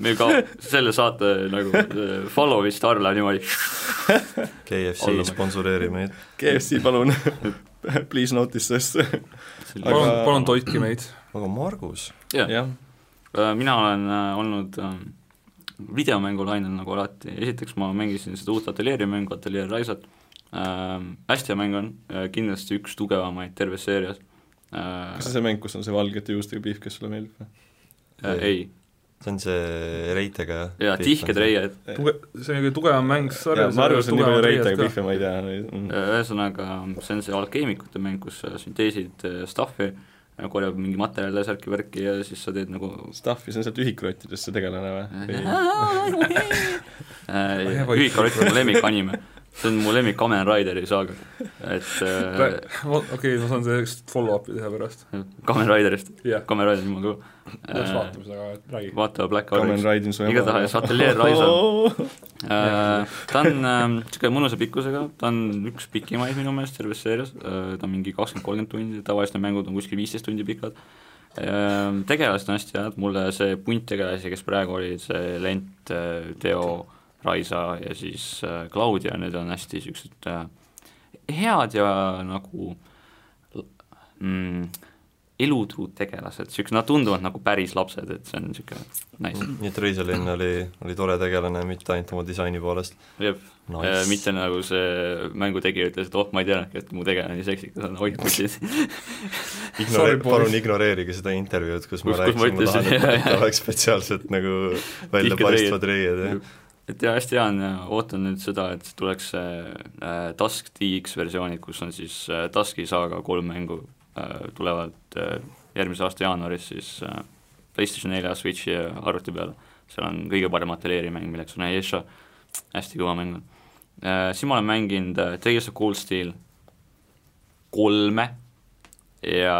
Speaker 3: me ka selle saate nagu äh, follow vist Arla niimoodi .
Speaker 1: KFC
Speaker 3: Olla-
Speaker 1: sponsoreerib meid ,
Speaker 4: KFC palun , please notice us .
Speaker 2: palun
Speaker 4: Aga-
Speaker 2: aga... , palun toitke meid .
Speaker 1: aga Margus ,
Speaker 3: jah ,
Speaker 4: jah ,
Speaker 3: mina olen äh, olnud äh, videomängulainel nagu alati , esiteks ma mängisin seda uut ateljeeri mängu , Ateljeer Raisat äh, , hästi hea mäng on äh, , kindlasti üks tugevamaid terves seerias äh, .
Speaker 4: kas see on see mäng , kus on see valgete juustega piif , kes sulle meeldib või ?
Speaker 3: Äh, ei ,
Speaker 1: see on see reitega
Speaker 3: jaa , tihked . reied ,
Speaker 2: tuge- , see on kõige tugevam mäng sarjas .
Speaker 4: Margus on nii palju reitega . piife , ma ei tea mm. neid .
Speaker 3: Äh, ühesõnaga see on see alkeemikute mäng , kus sa sünteesid äh, stuff'i , korjab mingi materjale , särki , värki ja siis sa teed nagu
Speaker 4: Staffi , see on sealt ühikrottidest see tegelane või ?
Speaker 3: Äh, ühikarott on mu lemmikanime , see on mu lemmik Kamen Rideri saaga , et äh,
Speaker 2: okei , ma saan selleks follow-up'i teha pärast .
Speaker 3: Kamen Riderist ,
Speaker 2: jah ,
Speaker 3: Kamen Rider on jumala
Speaker 2: peaks
Speaker 3: kõva .
Speaker 2: vaatama seda , aga räägi .
Speaker 3: vaata Äh, Black
Speaker 4: Kamen
Speaker 3: Orange ,
Speaker 4: Raidin su ema .
Speaker 3: igatahes Ateljeer Raisa. Äh, ta on niisugune mõnusa pikkusega , ta on üks pikimaid minu meelest terves seerias , ta on mingi kakskümmend , kolmkümmend tundi , tavaliselt need mängud on kuskil viisteist tundi pikad , tegelased on hästi head , mulle see punt tegelasi , kes praegu olid , see Lent , Teo , Raisa ja siis äh, Claudia , need on hästi niisugused äh, head ja nagu l- mm, elutuud tegelased , niisugused , nad tunduvad nagu päris lapsed , et see on niisugune nice ,
Speaker 1: nii et Reisalinn oli , oli tore tegelane , mitte ainult oma disaini poolest .
Speaker 3: jep . Nice. mitte nagu see mängu tegija ütles , et oh , ma ei teadnudki , et mu tegelane nii seksikas on , oih , kus siis
Speaker 1: Ignore-
Speaker 2: Sorry, boys.
Speaker 1: palun ignoreerige seda intervjuud , kus ma
Speaker 3: Kus- kus ma
Speaker 1: rääkisin , ma
Speaker 3: ütlesin,
Speaker 1: tahan , et
Speaker 3: jah,
Speaker 1: et
Speaker 3: jah.
Speaker 1: oleks spetsiaalselt nagu välja
Speaker 3: Tihked
Speaker 1: paistvad reied , jah .
Speaker 3: et jaa , hästi hea on , ootan nüüd seda , et tuleks see äh, Task DX versioonid , kus on siis äh, Taski saaga kolm mängu äh, tulevad äh, järgmise aasta jaanuaris siis äh, PlayStation 4 ja Switchi ja arvuti peale . seal on kõige parem ateljeerimäng , milleks on Aesha , hästi kõva mäng on äh, . siis ma olen mänginud äh, Tales of Cold Steel kolme ja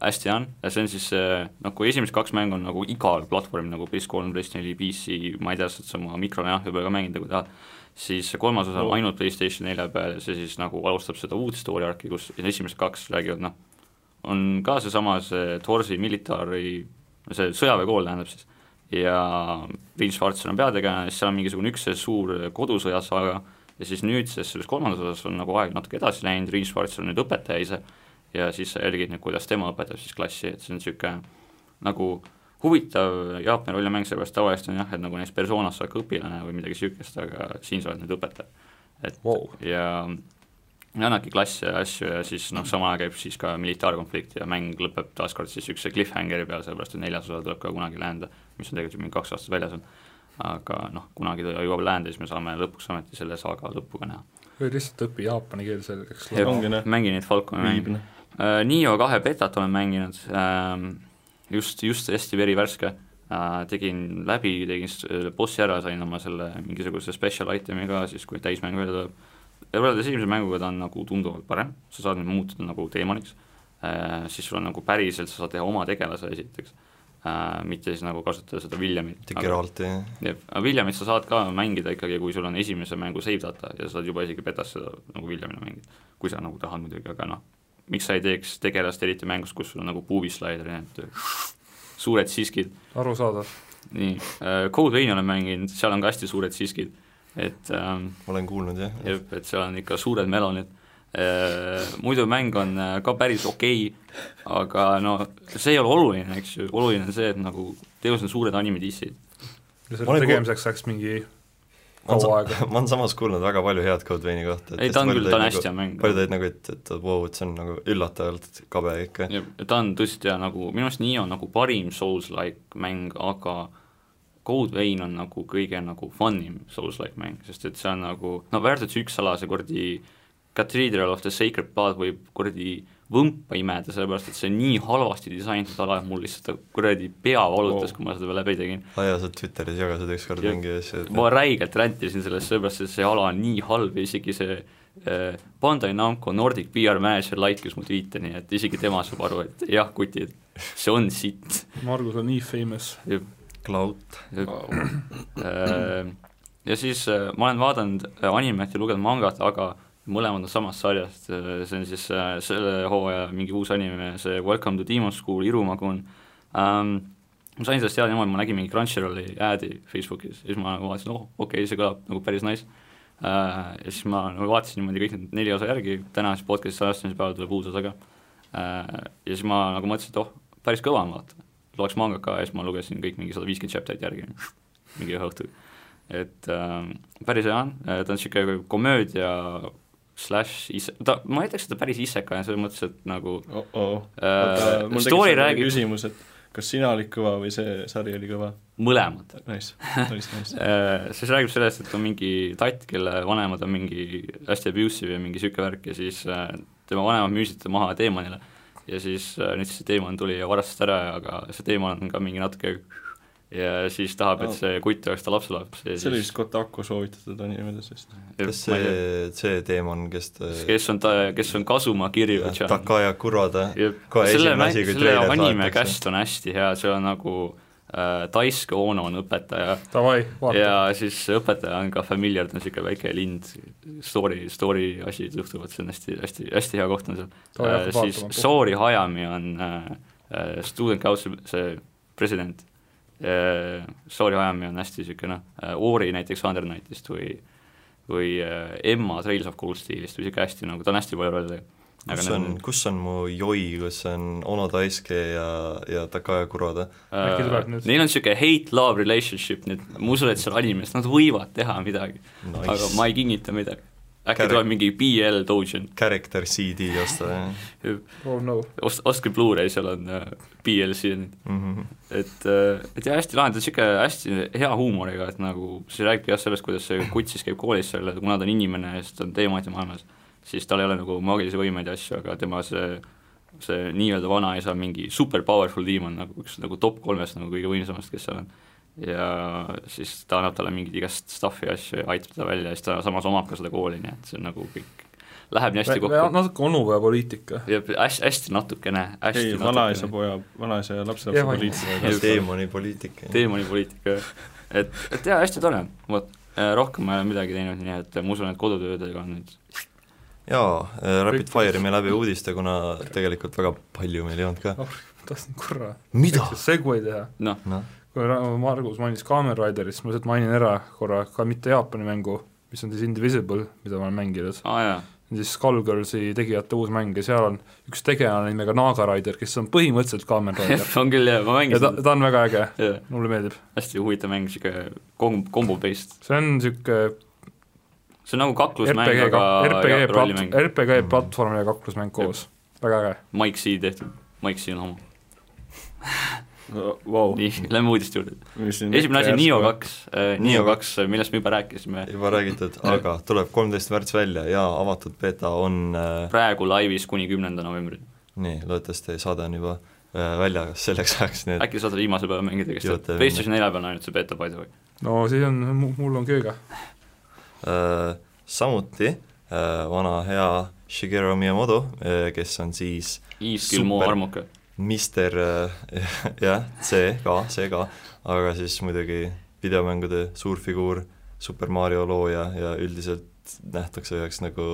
Speaker 3: hästi hea on , see on siis äh, noh , kui esimesed kaks mängu on nagu igal platvormil nagu PS3 , PS4 , PC , ma ei tea , saad sa oma mikronahja peal ka mängida , kui tahad , siis see kolmas osa on ainult PlayStation 4 peal ja see siis nagu alustab seda uut story arc'i , kus esimesed kaks räägivad noh , on ka seesama see Torsi militari , see sõjaväekool tähendab siis , ja Rein Schwarzer on peategelane , siis seal on mingisugune üks see suur kodusõjasaaga ja siis nüüdses selles kolmandas osas on nagu aeg natuke edasi läinud , Rein Schwarzer on nüüd õpetaja ise ja siis sa jälgid nüüd , kuidas tema õpetab siis klassi , et see on niisugune nagu huvitav Jaapani rollimäng , sellepärast tavaliselt on jah , et nagu näiteks persoonas sa oled ka õpilane või midagi niisugust , aga siin sa oled nüüd õpetaja . et
Speaker 2: Wow.
Speaker 3: ja ja annabki klasse ja asju ja siis noh , samal ajal käib siis ka militaarkonflikt ja mäng lõpeb taaskord siis niisuguse cliffhangeri peal , sellepärast et neljas osa tuleb ka kunagi läände , mis on tegelikult ju mingi kaks aastat väljas on . aga noh , kunagi ta jõuab läände , siis me saame lõpuks ometi selle saaga lõppu ka näha .
Speaker 2: või lihtsalt õpi jaapani keel selgeks .
Speaker 4: Jep. Ongi, noh.
Speaker 3: mängi neid Falconi mänge . Äh, Nio kahe betat olen mänginud ähm, , just , just hästi verivärske äh, , tegin läbi , tegin s- selle bossi ära , sain oma selle mingisuguse special itemi ka siis , kui täismäng välja tuleb . ja võrreldes esimese mänguga ta on nagu tunduvalt parem , sa saad nüüd muutuda nagu teemaniks äh, , siis sul on nagu päriselt , sa saad teha oma tegelase esiteks äh, , mitte siis nagu kasutada seda Williamit .
Speaker 1: mitte Geralti ,
Speaker 3: jah , aga Williamit sa saad ka mängida ikkagi , kui sul on esimese mängu save data ja sa saad juba isegi betas seda nagu Williamina mängida , kui sa nagu tahad muidugi , aga noh , miks sa ei teeks tegelast, eriti mängus, kus sul on nagu puuvislaider ja need äh, suured siskid,
Speaker 2: arusaadav .
Speaker 3: nii, Code Veini olen mänginud, seal on ka hästi suured siskid, et ähm,
Speaker 1: olen kuulnud jah ja. .
Speaker 3: jah , et seal on ikka suured melonid . Muidu mäng on äh, ka päris okei okay, , aga no see ei ole oluline , eks ju , oluline on see , et nagu teos on suured animedissid .
Speaker 2: ja
Speaker 1: Ma
Speaker 2: selle
Speaker 1: olen kuul-
Speaker 2: tegemiseks läks mingi
Speaker 1: ma
Speaker 2: kaua
Speaker 1: olen
Speaker 2: aega.
Speaker 1: sa- ma olen samas kuulnud väga palju head Code Veini kohta .
Speaker 3: ei , ta on küll , ta on hästi hea mäng .
Speaker 1: paljud olid nagu , et , et vau , et see on nagu üllatavalt kabe ikka .
Speaker 3: ta on tõesti hea nagu , minu arust nii on nagu parim Souls-like mäng , aga Code Vein on nagu kõige nagu funim Souls-like mäng , sest et see on nagu , no Värdets üks ala , see kuradi Cathedral of the Sacred Blood võib kuradi võmpa imeda , sellepärast et see on nii halvasti disainitud ala , et mul lihtsalt kuradi pea valutas wow. ,
Speaker 4: Wow.
Speaker 3: kui ma seda läbi tegin .
Speaker 1: aa jaa , sa Twitteris jagasid ükskord
Speaker 3: Jah.
Speaker 1: mingi asja ,
Speaker 3: ma
Speaker 1: et
Speaker 3: räigelt rändtisin sellest , sellepärast et see ala on nii halb ja isegi see eh, Bandai Namco Nordic PR manager laikis mu tweet'e , nii et isegi tema saab aru , et jah , kutid , see on sitt .
Speaker 2: Margus on nii famous .
Speaker 1: Cloud ,
Speaker 3: Äh, ja siis äh, ma olen vaadanud äh, animet ja lugenud mangat , aga mõlemad on samast sarjast , see on siis äh, selle hooaja mingi uus anime , see Welcome to Demon School , Irumagun ähm, . ma sain sellest teada niimoodi , ma nägin mingi Crunchyrolli ad'i Facebookis ja siis ma nagu vaatasin , oh okei okay, , see kõlab nagu päris nice äh, . ja siis ma nagu vaatasin niimoodi kõik need neli osa järgi , täna siis podcast'i salastamise päeval tuleb uus osa ka äh, . ja siis ma nagu mõtlesin , et oh , päris kõva on vaata , loeks mangat ka ja siis ma lugesin kõik mingi sada viiskümmend chapter'it järgi mingi ühe õhtu . et äh, päris hea on , ta on niisugune komöödia slaš ise , ta , ma ei ütleks seda päris isekana , selles mõttes , et nagu
Speaker 4: oh-oh .
Speaker 3: äh, story räägib
Speaker 4: nagu küsimus , et kas sina olid kõva või see sari oli kõva ?
Speaker 3: mõlemat .
Speaker 4: Nice , nice , nice .
Speaker 3: Äh, siis räägib sellest , et on mingi tatt , kelle vanemad on mingi hästi abusive ja mingi niisugune värk ja siis äh, tema vanemad müüsid ta maha teemonile ja siis äh, nüüd see teemon tuli ja varastas ära , aga see teemon on ka mingi natuke ja siis tahab , et see kutt oleks ta lapselaps ja
Speaker 4: see oli
Speaker 3: siis
Speaker 4: vist Kotaku soovitatud animedest vist .
Speaker 1: kas see , see teema on , kes ta
Speaker 3: kes on ta , kes on Kasuma Kirju
Speaker 1: jah, Takaya Kurada ,
Speaker 3: Jep.
Speaker 1: kohe
Speaker 3: selle
Speaker 1: esimene
Speaker 3: mäng ,
Speaker 1: asi, kui
Speaker 3: selle
Speaker 1: treilerit
Speaker 3: anime
Speaker 1: vaadatakse.
Speaker 3: käst on hästi hea , see on nagu äh, Daisuke Ono on õpetaja
Speaker 2: Davai ,
Speaker 3: ja
Speaker 2: vaata .
Speaker 3: siis õpetaja on ka familiar , ta on niisugune väike lind , story , story asjad juhtuvad , see on hästi , hästi , hästi hea koht on seal Äh,
Speaker 2: Ta hakkab .
Speaker 3: siis
Speaker 2: vaatama.
Speaker 3: Soori Hayami on äh, äh, student council , see president äh, , Soori Hayami on hästi niisugune äh, Ori näiteks Under Nightist või või äh, Emma Trails of Cold Steelist või niisugune hästi nagu , ta on hästi palju rolle
Speaker 1: kus
Speaker 3: nagu
Speaker 1: on , kus on mu joi , kus on Ono Daisuke ja , ja Takaya Kuroda ?
Speaker 2: Äkki tuleb
Speaker 3: Äh,
Speaker 2: nüüd-
Speaker 3: neil on niisugune hate-love relationship , nii et ma usun , et seal animes nad võivad teha midagi nice. , aga ma ei kingita midagi . äkki
Speaker 1: Käre-
Speaker 3: tuleb mingi BL Dojin ,
Speaker 1: Character CD osta , jah
Speaker 2: oh no .
Speaker 3: ost- , ostke Blu-ray , seal on äh, BLC on ,
Speaker 1: Mhm.
Speaker 3: et äh, et jah , hästi lahendatud , niisugune hästi hea huumoriga , et nagu see räägibki jah sellest , kuidas see kutt siis käib koolis seal , kuna ta on inimene ja siis ta on teemantide maailmas , siis tal ei ole nagu maagilisi võimeid ja asju , aga tema see see nii-öelda vanaisa on mingi super powerful demon , nagu üks nagu top kolmest nagu kõige võimsamast , kes seal on . ja siis ta annab talle mingeid igast stuff'i ja asju ja aitab teda välja ja siis ta samas omab ka seda kooli , nii et see on nagu kõik , läheb nii hästi kokku .
Speaker 2: natuke onupojapoliitika .
Speaker 3: ja hästi , hästi natukene , hästi
Speaker 4: ei , vanaisa poja , vanaisa ja lapselapse
Speaker 2: Jah, on-
Speaker 4: poliitika .
Speaker 1: ja teemani poliitika .
Speaker 3: teemanipoliitika , et , et jaa , hästi tore , vot , rohkem ma ei ole midagi teinud , nii et äh, ma usun , et kodutöödega on nüüd
Speaker 1: jaa , Rapid Fire'i me läbi uudiste , kuna tegelikult väga palju meil ei olnud ka .
Speaker 2: tahtsin korra
Speaker 1: mida ?
Speaker 2: segway teha .
Speaker 3: noh ,
Speaker 1: noh ,
Speaker 2: kui Ra- Margus mainis Kamen Riderit , siis ma lihtsalt mainin ära korra ka mitte Jaapani mängu , mis on siis Indivisible , mida ma olen mänginud .
Speaker 3: aa jaa ,
Speaker 2: siis Skullgirlsi tegijate uus mäng ja seal on üks tegelane nimega Naga Rider , kes on põhimõtteliselt Kamen Rider .
Speaker 3: on küll jah , ma
Speaker 2: ja
Speaker 3: mängisin
Speaker 2: ta ,
Speaker 3: seda
Speaker 2: ta on väga äge ,
Speaker 3: Jaa,
Speaker 2: mulle meeldib .
Speaker 3: hästi huvitav mäng , niisugune kom- , kombo-based ,
Speaker 2: see on niisugune
Speaker 3: see on nagu kaklusmäng ,
Speaker 2: RPG ,
Speaker 3: aga
Speaker 2: RPG
Speaker 3: jah,
Speaker 2: plat- ,
Speaker 3: rollimäng , Mhm.
Speaker 2: RPG platvorm ja kaklusmäng koos , väga äge .
Speaker 3: Mike C tehtud , Mike C on homo ,
Speaker 4: Vau .
Speaker 3: nii , lähme uudiste juurde , esimene asi on Nio . kaks , Nio
Speaker 1: Nio
Speaker 3: kaks , millest me juba rääkisime ,
Speaker 1: juba räägitud , aga tuleb kolmteist märts välja ja avatud beeta on äh,
Speaker 3: praegu laivis kuni kümnenda novembrini ,
Speaker 1: nii , loodetavasti saade on juba äh, välja selleks ajaks , nii et
Speaker 3: äkki saate viimase päeva mängida , kes
Speaker 1: Jaa,
Speaker 3: teab ,
Speaker 1: teeme.
Speaker 3: PlayStation nelja peal on ainult see beeta , by the way ,
Speaker 2: no siis on , mul on kööga .
Speaker 1: Äh, samuti äh, vana hea Shigeru Miyamoto , kes on siis
Speaker 3: Yves Gilmo
Speaker 1: Super.
Speaker 3: armuke ,
Speaker 1: mister äh, jah , see ka , see ka , aga siis muidugi videomängude suurfiguur , Super Mario looja ja üldiselt nähtakse üheks nagu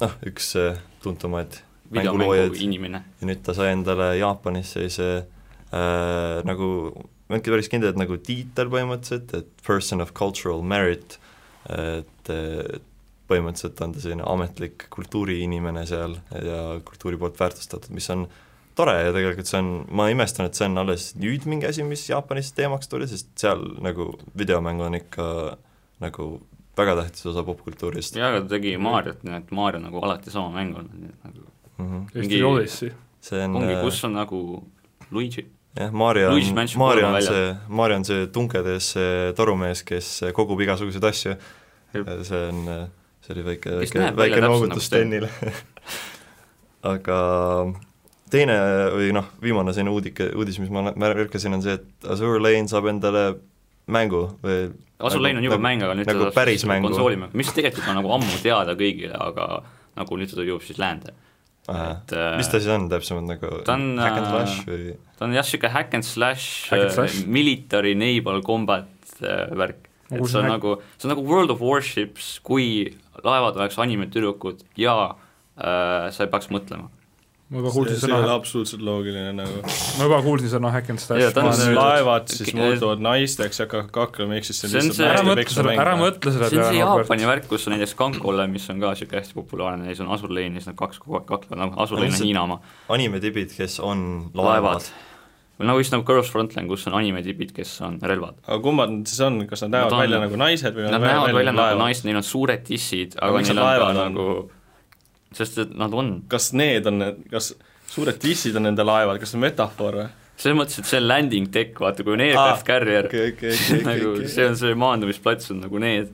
Speaker 1: noh , üks äh, tuntumaid
Speaker 3: videomängu
Speaker 1: mänguloojaid.
Speaker 3: inimene .
Speaker 1: ja nüüd ta sai endale Jaapanis sellise äh, nagu , ma ei olnudki päris kindel , et nagu tiitel põhimõtteliselt , et person of cultural merit , et äh, põhimõtteliselt on ta selline ametlik kultuuriinimene seal ja kultuuri poolt väärtustatud , mis on tore ja tegelikult see on , ma imestan , et see on alles nüüd mingi asi , mis Jaapanis teemaks tuli , sest seal nagu videomäng on ikka nagu väga tähtis osa popkultuurist .
Speaker 3: jaa , aga ta tegi Mariot , nii et Mario nagu alati sama mäng olnud , nii et nagu
Speaker 1: Mhm.
Speaker 2: Eesti Odyssey .
Speaker 1: see on
Speaker 3: ongi
Speaker 1: äh, ,
Speaker 3: kus on nagu Luigi .
Speaker 1: jah , Mario
Speaker 3: Luigi's
Speaker 1: on ,
Speaker 3: Mansion
Speaker 1: Mario
Speaker 3: kolm
Speaker 1: on
Speaker 3: on
Speaker 1: see , Mario on see tunkedes see torumees , kes kogub igasuguseid asju ,
Speaker 3: Jep.
Speaker 1: see on , see oli väike ,
Speaker 3: Kes
Speaker 1: väike ,
Speaker 3: näeb välja
Speaker 1: väike
Speaker 3: täpselt
Speaker 1: noogutus
Speaker 3: nagu Sten.
Speaker 1: Stenile . aga teine või noh , viimane selline uudike , uudis , mis ma nä- märkasin , on see , et Azure Lane saab endale mängu või
Speaker 3: Asu
Speaker 1: Nagu-
Speaker 3: Lane on juba
Speaker 1: nagu-
Speaker 3: mäng , aga nüüd
Speaker 1: nagu
Speaker 3: ta
Speaker 1: päris
Speaker 3: saab
Speaker 1: mängu.
Speaker 3: konsoolimäng , mis tegelikult on nagu ammu teada kõigile , aga nagu nüüd ta jõuab siis läände .
Speaker 1: äh,
Speaker 3: et äh,
Speaker 1: mis ta siis on täpsemalt nagu
Speaker 3: ta on,
Speaker 1: hack and
Speaker 3: äh,
Speaker 1: slash või
Speaker 3: ta on jah , niisugune hack and slash,
Speaker 2: Hack and slash?
Speaker 3: äh, military naval combat äh, värk .
Speaker 2: Ma
Speaker 3: et see
Speaker 2: kuulsin
Speaker 3: on
Speaker 2: hack-
Speaker 3: nagu , see on nagu World of Warships , kui laevad oleks animetüdrukud ja äh, sa ei peaks mõtlema .
Speaker 2: ma juba
Speaker 4: see
Speaker 2: kuulsin
Speaker 4: see ei ole
Speaker 2: sõna ,
Speaker 4: absoluutselt loogiline nagu .
Speaker 2: ma juba kuulsin sõna hack and
Speaker 3: Jaa,
Speaker 2: slash .
Speaker 3: ta on see-
Speaker 4: laevad siis
Speaker 3: Ke-
Speaker 4: muutuvad naisteks ja hakkavad kaklema , ehk siis see on
Speaker 3: See on
Speaker 4: lihtsalt
Speaker 3: see-
Speaker 2: ära
Speaker 4: naiste
Speaker 2: mõtle
Speaker 4: peksu
Speaker 2: selle ,
Speaker 4: mäng
Speaker 2: ära . mõtle selle
Speaker 3: see on see
Speaker 2: peale , Robert
Speaker 3: Jaapani . värk , kus on näiteks kankole , mis on ka niisugune hästi populaarne , neis on Azur Lane ja siis nad kaks kogu aeg kaklevad , nagu Azur
Speaker 1: Aga
Speaker 3: Lane on
Speaker 1: lihtsalt-
Speaker 3: Hiina oma ,
Speaker 1: animetibid , kes on
Speaker 3: laevad
Speaker 1: laevad ..
Speaker 3: või nagu just nagu Girls Frontline , kus on animetibid , kes on relvad .
Speaker 4: aga kummad nad siis on , kas nad näevad
Speaker 3: Nad on-
Speaker 4: välja nagu naised või
Speaker 3: Nad näevad välja nagu naised , neil on suured tissid , aga
Speaker 4: miks
Speaker 3: neil on ka
Speaker 4: nad laevad on?
Speaker 3: nagu , sest et nad on ,
Speaker 4: kas need on need , kas suured dissid on nende laevad , kas see on metafoor või ?
Speaker 3: selles mõttes , et see on landing deck , vaata , kui on
Speaker 4: Aa,
Speaker 3: aircraft carrier ,
Speaker 4: okei , okei , okei ,
Speaker 3: nagu
Speaker 4: okei ,
Speaker 3: see on see maandumisplats on nagu need ,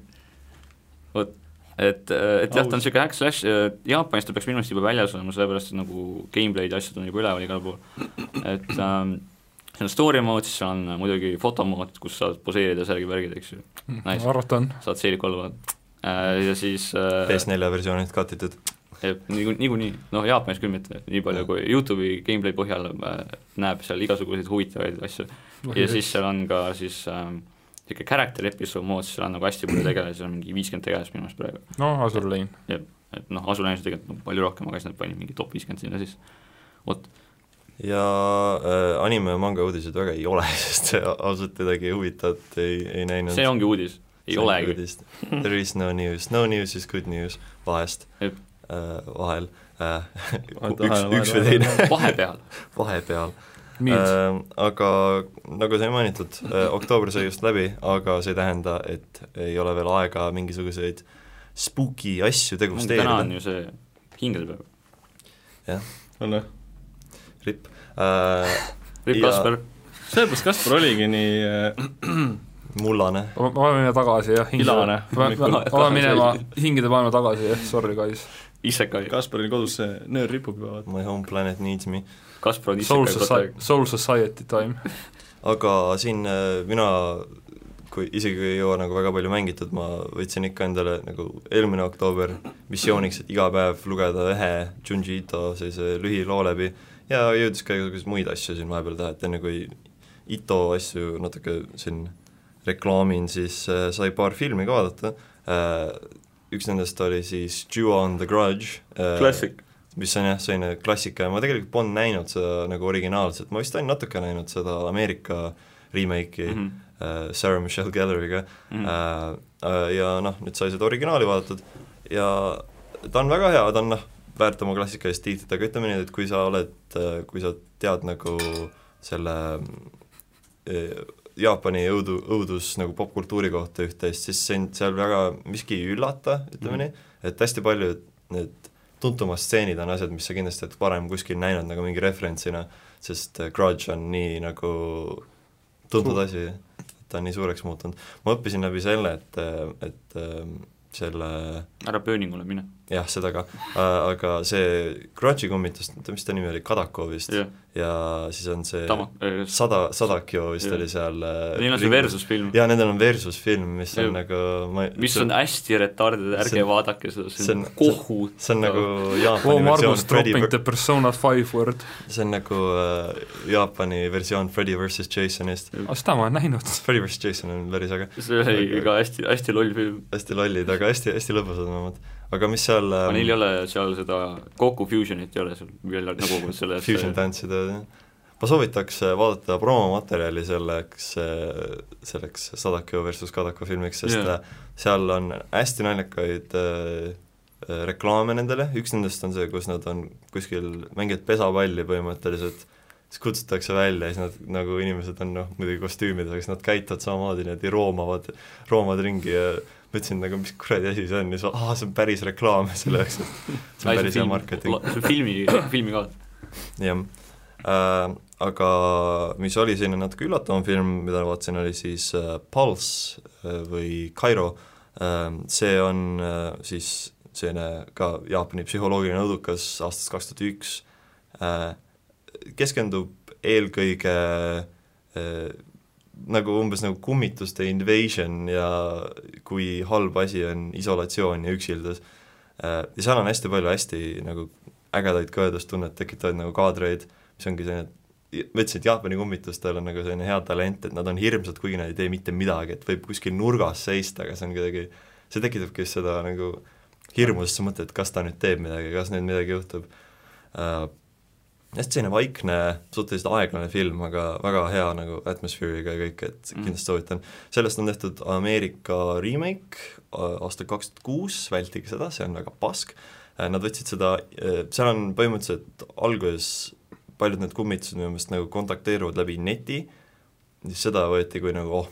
Speaker 3: vot , et , et jah , ta on niisugune hack slash , Jaapanis ta peaks minu meelest juba väljas olema , sellepärast et nagu gameplay'd ja asjad on juba üleval igal pool , et ähm, seal on story mode , siis seal on äh, muidugi fotomood , kus saad poseerida särgi värgid , eks ju ,
Speaker 2: ma
Speaker 3: Nice.
Speaker 2: arvatan .
Speaker 3: saad seeliku alla vaadata äh, ja siis äh,
Speaker 1: PS4 versioonid katitud ,
Speaker 3: jääb niiku- niikuinii , noh Jaapanis küll mitte , nii palju kui Youtube'i gameplay põhjal äh, näeb seal igasuguseid huvitavaid asju ja siis seal on ka siis niisugune character episood mood , seal on nagu hästi palju tegelasi , seal on mingi viiskümmend tegelast minu meelest praegu ,
Speaker 2: noh , Azure Lane .
Speaker 3: et noh , Asulainis on tegelikult nagu palju rohkem , aga siis nad panid mingi top viiskümmend sinna sisse .
Speaker 1: ja äh, anime ja manga uudiseid väga ei ole , sest see ausalt midagi huvitavat ei , ei näinud .
Speaker 3: see ongi uudis , ei olegi .
Speaker 1: küll . There is no news , no news is good news vahest äh,
Speaker 3: Jep. ,
Speaker 1: vahel äh, ,
Speaker 4: Vahel,
Speaker 1: üks ,
Speaker 4: vahel,
Speaker 1: üks või
Speaker 4: vahel.
Speaker 1: teine
Speaker 3: Nagu vahepeal
Speaker 1: vahepeal .
Speaker 3: Äh.
Speaker 2: Mead ,
Speaker 1: aga nagu sai mainitud , oktoober sai just läbi , aga see ei tähenda , et ei ole veel aega mingisuguseid spooky asju
Speaker 3: täna on
Speaker 1: degusteerida ,
Speaker 3: ju see hingelpäev .
Speaker 4: on või ?
Speaker 1: ripp äh, ,
Speaker 3: Ripp
Speaker 1: Ja-
Speaker 3: Kaspar ,
Speaker 4: sellepärast Kaspar oligi nii äh,
Speaker 1: mullane
Speaker 2: ma pean minema tagasi jah .
Speaker 4: Ilane
Speaker 2: ma
Speaker 4: hommikul.
Speaker 2: pean minema hingede maailma tagasi jah , sorry guys .
Speaker 3: Isekai ,
Speaker 4: Kasparil kodus see nöör ripub juba , vaata .
Speaker 1: My home planet needs me .
Speaker 3: Kaspar on
Speaker 2: Soul
Speaker 3: Isekai kogu aeg
Speaker 2: Society ,. Soul Society time .
Speaker 1: aga siin äh, mina , kui isegi kui ei jõua nagu väga palju mängitud , ma võtsin ikka endale nagu eelmine oktoober missiooniks , et iga päev lugeda ühe Junji Ito sellise lühiloo läbi ja jõudis ka igasuguseid muid asju siin vahepeal teha , et enne kui Ito asju natuke siin reklaamin , siis äh, sai paar filmi ka vaadata äh, , üks nendest oli siis Jew on the Grudge äh, , mis on jah , selline klassika ja ma tegelikult polnud näinud seda nagu originaalset , ma vist olen natuke näinud seda Ameerika remake'i
Speaker 3: Mhm.
Speaker 1: mm -hmm. äh, Sarah Michelle Gelleriga mm -hmm. äh, äh, ja noh , nüüd sai seda originaali vaadatud ja ta on väga hea , ta on noh , väärt oma klassikalist tiitlit , aga ütleme niimoodi , et kui sa oled , kui sa tead nagu selle äh, Jaapani õudu , õudus nagu popkultuuri kohta üht-teist , siis sind seal väga miski ei üllata , ütleme mm
Speaker 3: Mhm.
Speaker 1: -hmm. nii , et hästi palju need tuntumad stseenid on asjad , mis sa kindlasti oled varem kuskil näinud nagu mingi referentsina , sest äh, Grudge on nii nagu tuntud asi , ta on nii suureks muutunud . ma õppisin läbi selle , et , et ähm, selle
Speaker 3: ära pööningule mine ,
Speaker 1: jah , seda ka , aga see Grudge'i kummitus , mis ta nimi oli , Kadako vist
Speaker 3: jah ,
Speaker 1: ja siis on see
Speaker 3: Tama ,
Speaker 1: sada , Sadakio vist
Speaker 3: Jah.
Speaker 1: oli seal äh,
Speaker 3: neil on see . versusfilm ,
Speaker 1: jaa , nendel on versus film , mis
Speaker 3: Jah.
Speaker 1: on nagu ma ei-
Speaker 3: mis on hästi retarded ,
Speaker 1: see
Speaker 3: ärge
Speaker 1: on-
Speaker 3: vaadake seda ,
Speaker 1: see
Speaker 3: see
Speaker 1: on-
Speaker 3: on kohutav .
Speaker 1: see on nagu
Speaker 2: Oh ,
Speaker 1: Jaapani
Speaker 2: Margus
Speaker 1: versioon Freddy
Speaker 2: dropping the persona five word .
Speaker 1: see on nagu äh, Jaapani versioon Freddy versus Jasonist .
Speaker 2: aga seda ma olen näinud .
Speaker 1: Freddy versus Jason on päris äge ,
Speaker 3: see oli ka hästi , hästi loll film .
Speaker 1: hästi lollid , aga hästi , hästi lõbusad omad . aga mis seal
Speaker 3: aga neil ei
Speaker 1: ähm,
Speaker 3: ole seal seda kokku fusion'it ei ole seal veel nagu selles
Speaker 1: Fusion tantsida , ma soovitaks äh, vaadata promomaterjali selleks , selleks Sadako versus Kadako filmiks , sest
Speaker 3: Jaa.
Speaker 1: yeah. seal on hästi naljakaid äh, äh, reklaame nendele , üks nendest on see , kus nad on kuskil , mängivad pesapalli põhimõtteliselt , siis kutsutakse välja ja siis nad nagu inimesed on noh , muidugi kostüümides , aga siis nad käituvad samamoodi , niimoodi roomavad , roomavad ringi ja ma ütlesin nagu , mis kuradi asi see on ja siis aa , see on päris reklaam ja selle jaoks , et see on päris hea marketing .
Speaker 3: filmi , filmi ka .
Speaker 1: jah äh, , aga mis oli selline natuke üllatavam film , mida ma vaatasin , oli siis äh, Pulse äh, või Kairo äh, , see on äh, siis selline ka Jaapani psühholoogiline õudukas aastast kaks tuhat üks , keskendub eelkõige äh, nagu umbes nagu kummituste invasion ja kui halb asi on isolatsioon ja üksildus . ja seal on hästi palju hästi nagu ägedaid kõedustunnet tekitavaid nagu kaadreid , mis ongi selline , ma ütlesin , et Jaapani kummitustel on nagu selline hea talent , et nad on hirmsad , kuigi nad ei tee mitte midagi , et võib kuskil nurgas seista , aga see on kuidagi , see tekitabki seda nagu hirmu , sest sa mõtled , et kas ta nüüd teeb midagi , kas nüüd midagi juhtub äh, . hästi selline vaikne , suhteliselt aeglane film , aga väga hea nagu atmosfääriga ja kõik , et
Speaker 3: Mm.
Speaker 1: kindlasti soovitan . sellest on tehtud Ameerika remake a- aastal kaks tuhat kuus , vältige seda , see on väga pask , nad võtsid seda , seal on põhimõtteliselt alguses paljud need kummitused minu meelest nagu kontakteeruvad läbi neti , siis seda võeti kui nagu oh ,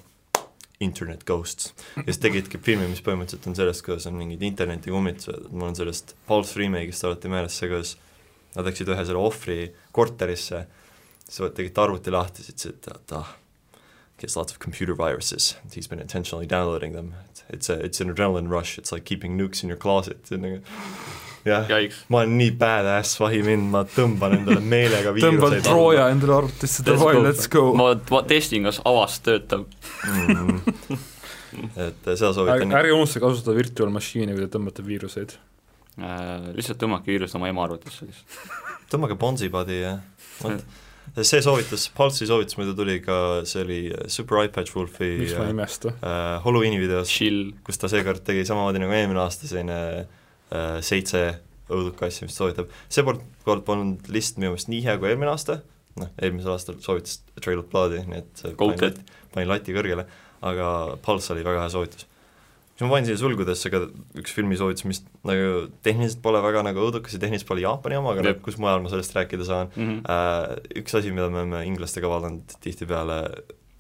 Speaker 1: internet ghosts . ja siis tegidki filmi , mis põhimõtteliselt on sellest , kuidas on mingid internetikummitused , et mul on sellest Pulse Remake'ist alati meeles see , kuidas nad läksid ühe selle ohvri korterisse , siis vot tegid arvuti lahti , siis ütlesid , et ah , gets lots of computer viruses and he's been intentionally downloading them . It's a , it's an adrenaline rush , it's like keeping nukes in your closet , see on nagu jah ,
Speaker 3: jäiks .
Speaker 1: ma olen nii badass vahimind , ma tõmban endale meelega
Speaker 2: tõmban
Speaker 1: viiruseid alla.
Speaker 2: Trooja endale arvutisse , davai , let's go .
Speaker 3: ma va- testin , kas avast töötab .
Speaker 1: mm. . et eh, seda soovitan
Speaker 2: ärge unustage kasutada virtual machine'i , kui te tõmbate viiruseid .
Speaker 3: Äh, lihtsalt tõmmake viirust oma ema arvutisse lihtsalt .
Speaker 1: tõmmage Bonsi padi ja vot see soovitus , Pulse'i soovitus muidu tuli ka , see oli Super iPad Wolfi
Speaker 2: miks ma ei
Speaker 1: äh,
Speaker 2: imesta ?
Speaker 1: Halloweeni videos ,
Speaker 3: chill .
Speaker 1: kus ta seekord tegi samamoodi nagu eelmine aasta selline äh, seitse õuduka asja , mis ta soovitab . seekord kord polnud list minu meelest nii hea kui eelmine aasta , noh , eelmisel aastal soovitas Trail of Blood'i , nii et see
Speaker 3: Go
Speaker 1: panin
Speaker 3: Ted.
Speaker 1: lati- panin lati kõrgele , aga Pulse oli väga hea soovitus . siis ma panin siia sulgudesse ka üks filmisoovitus , mis nagu tehniliselt pole väga nagu õudukas ja tehniliselt pole Jaapani oma , aga
Speaker 3: Jep.
Speaker 1: nagu kus mujal ma sellest rääkida saan , Äh, üks asi , mida me oleme inglastega vaadanud tihtipeale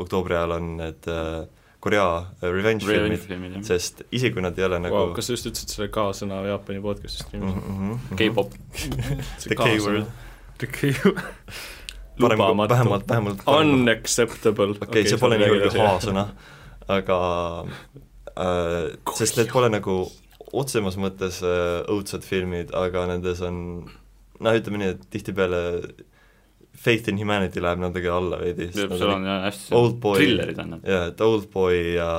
Speaker 1: oktoobri ajal , on need äh, Korea äh, revenge filmid ,
Speaker 3: mhm. filmid jah .
Speaker 1: sest isegi kui nad ei ole nagu Mhm,
Speaker 4: Vau, kas sa just ütlesid selle K-sõna Jaapani podcast'i
Speaker 3: Mhm.
Speaker 4: stream'is mm ?
Speaker 3: K-pop .
Speaker 4: -hmm.
Speaker 1: The K-word , parem kui
Speaker 4: lubamatu.
Speaker 1: vähemalt , vähemalt parem kui-
Speaker 4: Unacceptable .
Speaker 1: okei okay, , see pole nagu nii hull kui H-sõna , aga äh, sest need pole nagu otsemas mõttes äh, õudsed filmid , aga nendes on noh , ütleme nii , et tihtipeale Faith in Humanity läheb natuke alla veidi , sest nad
Speaker 3: seal
Speaker 1: on
Speaker 3: on jah hästi
Speaker 1: Old Boy-
Speaker 3: trillerid on nad .
Speaker 1: jaa , et Oldboy ja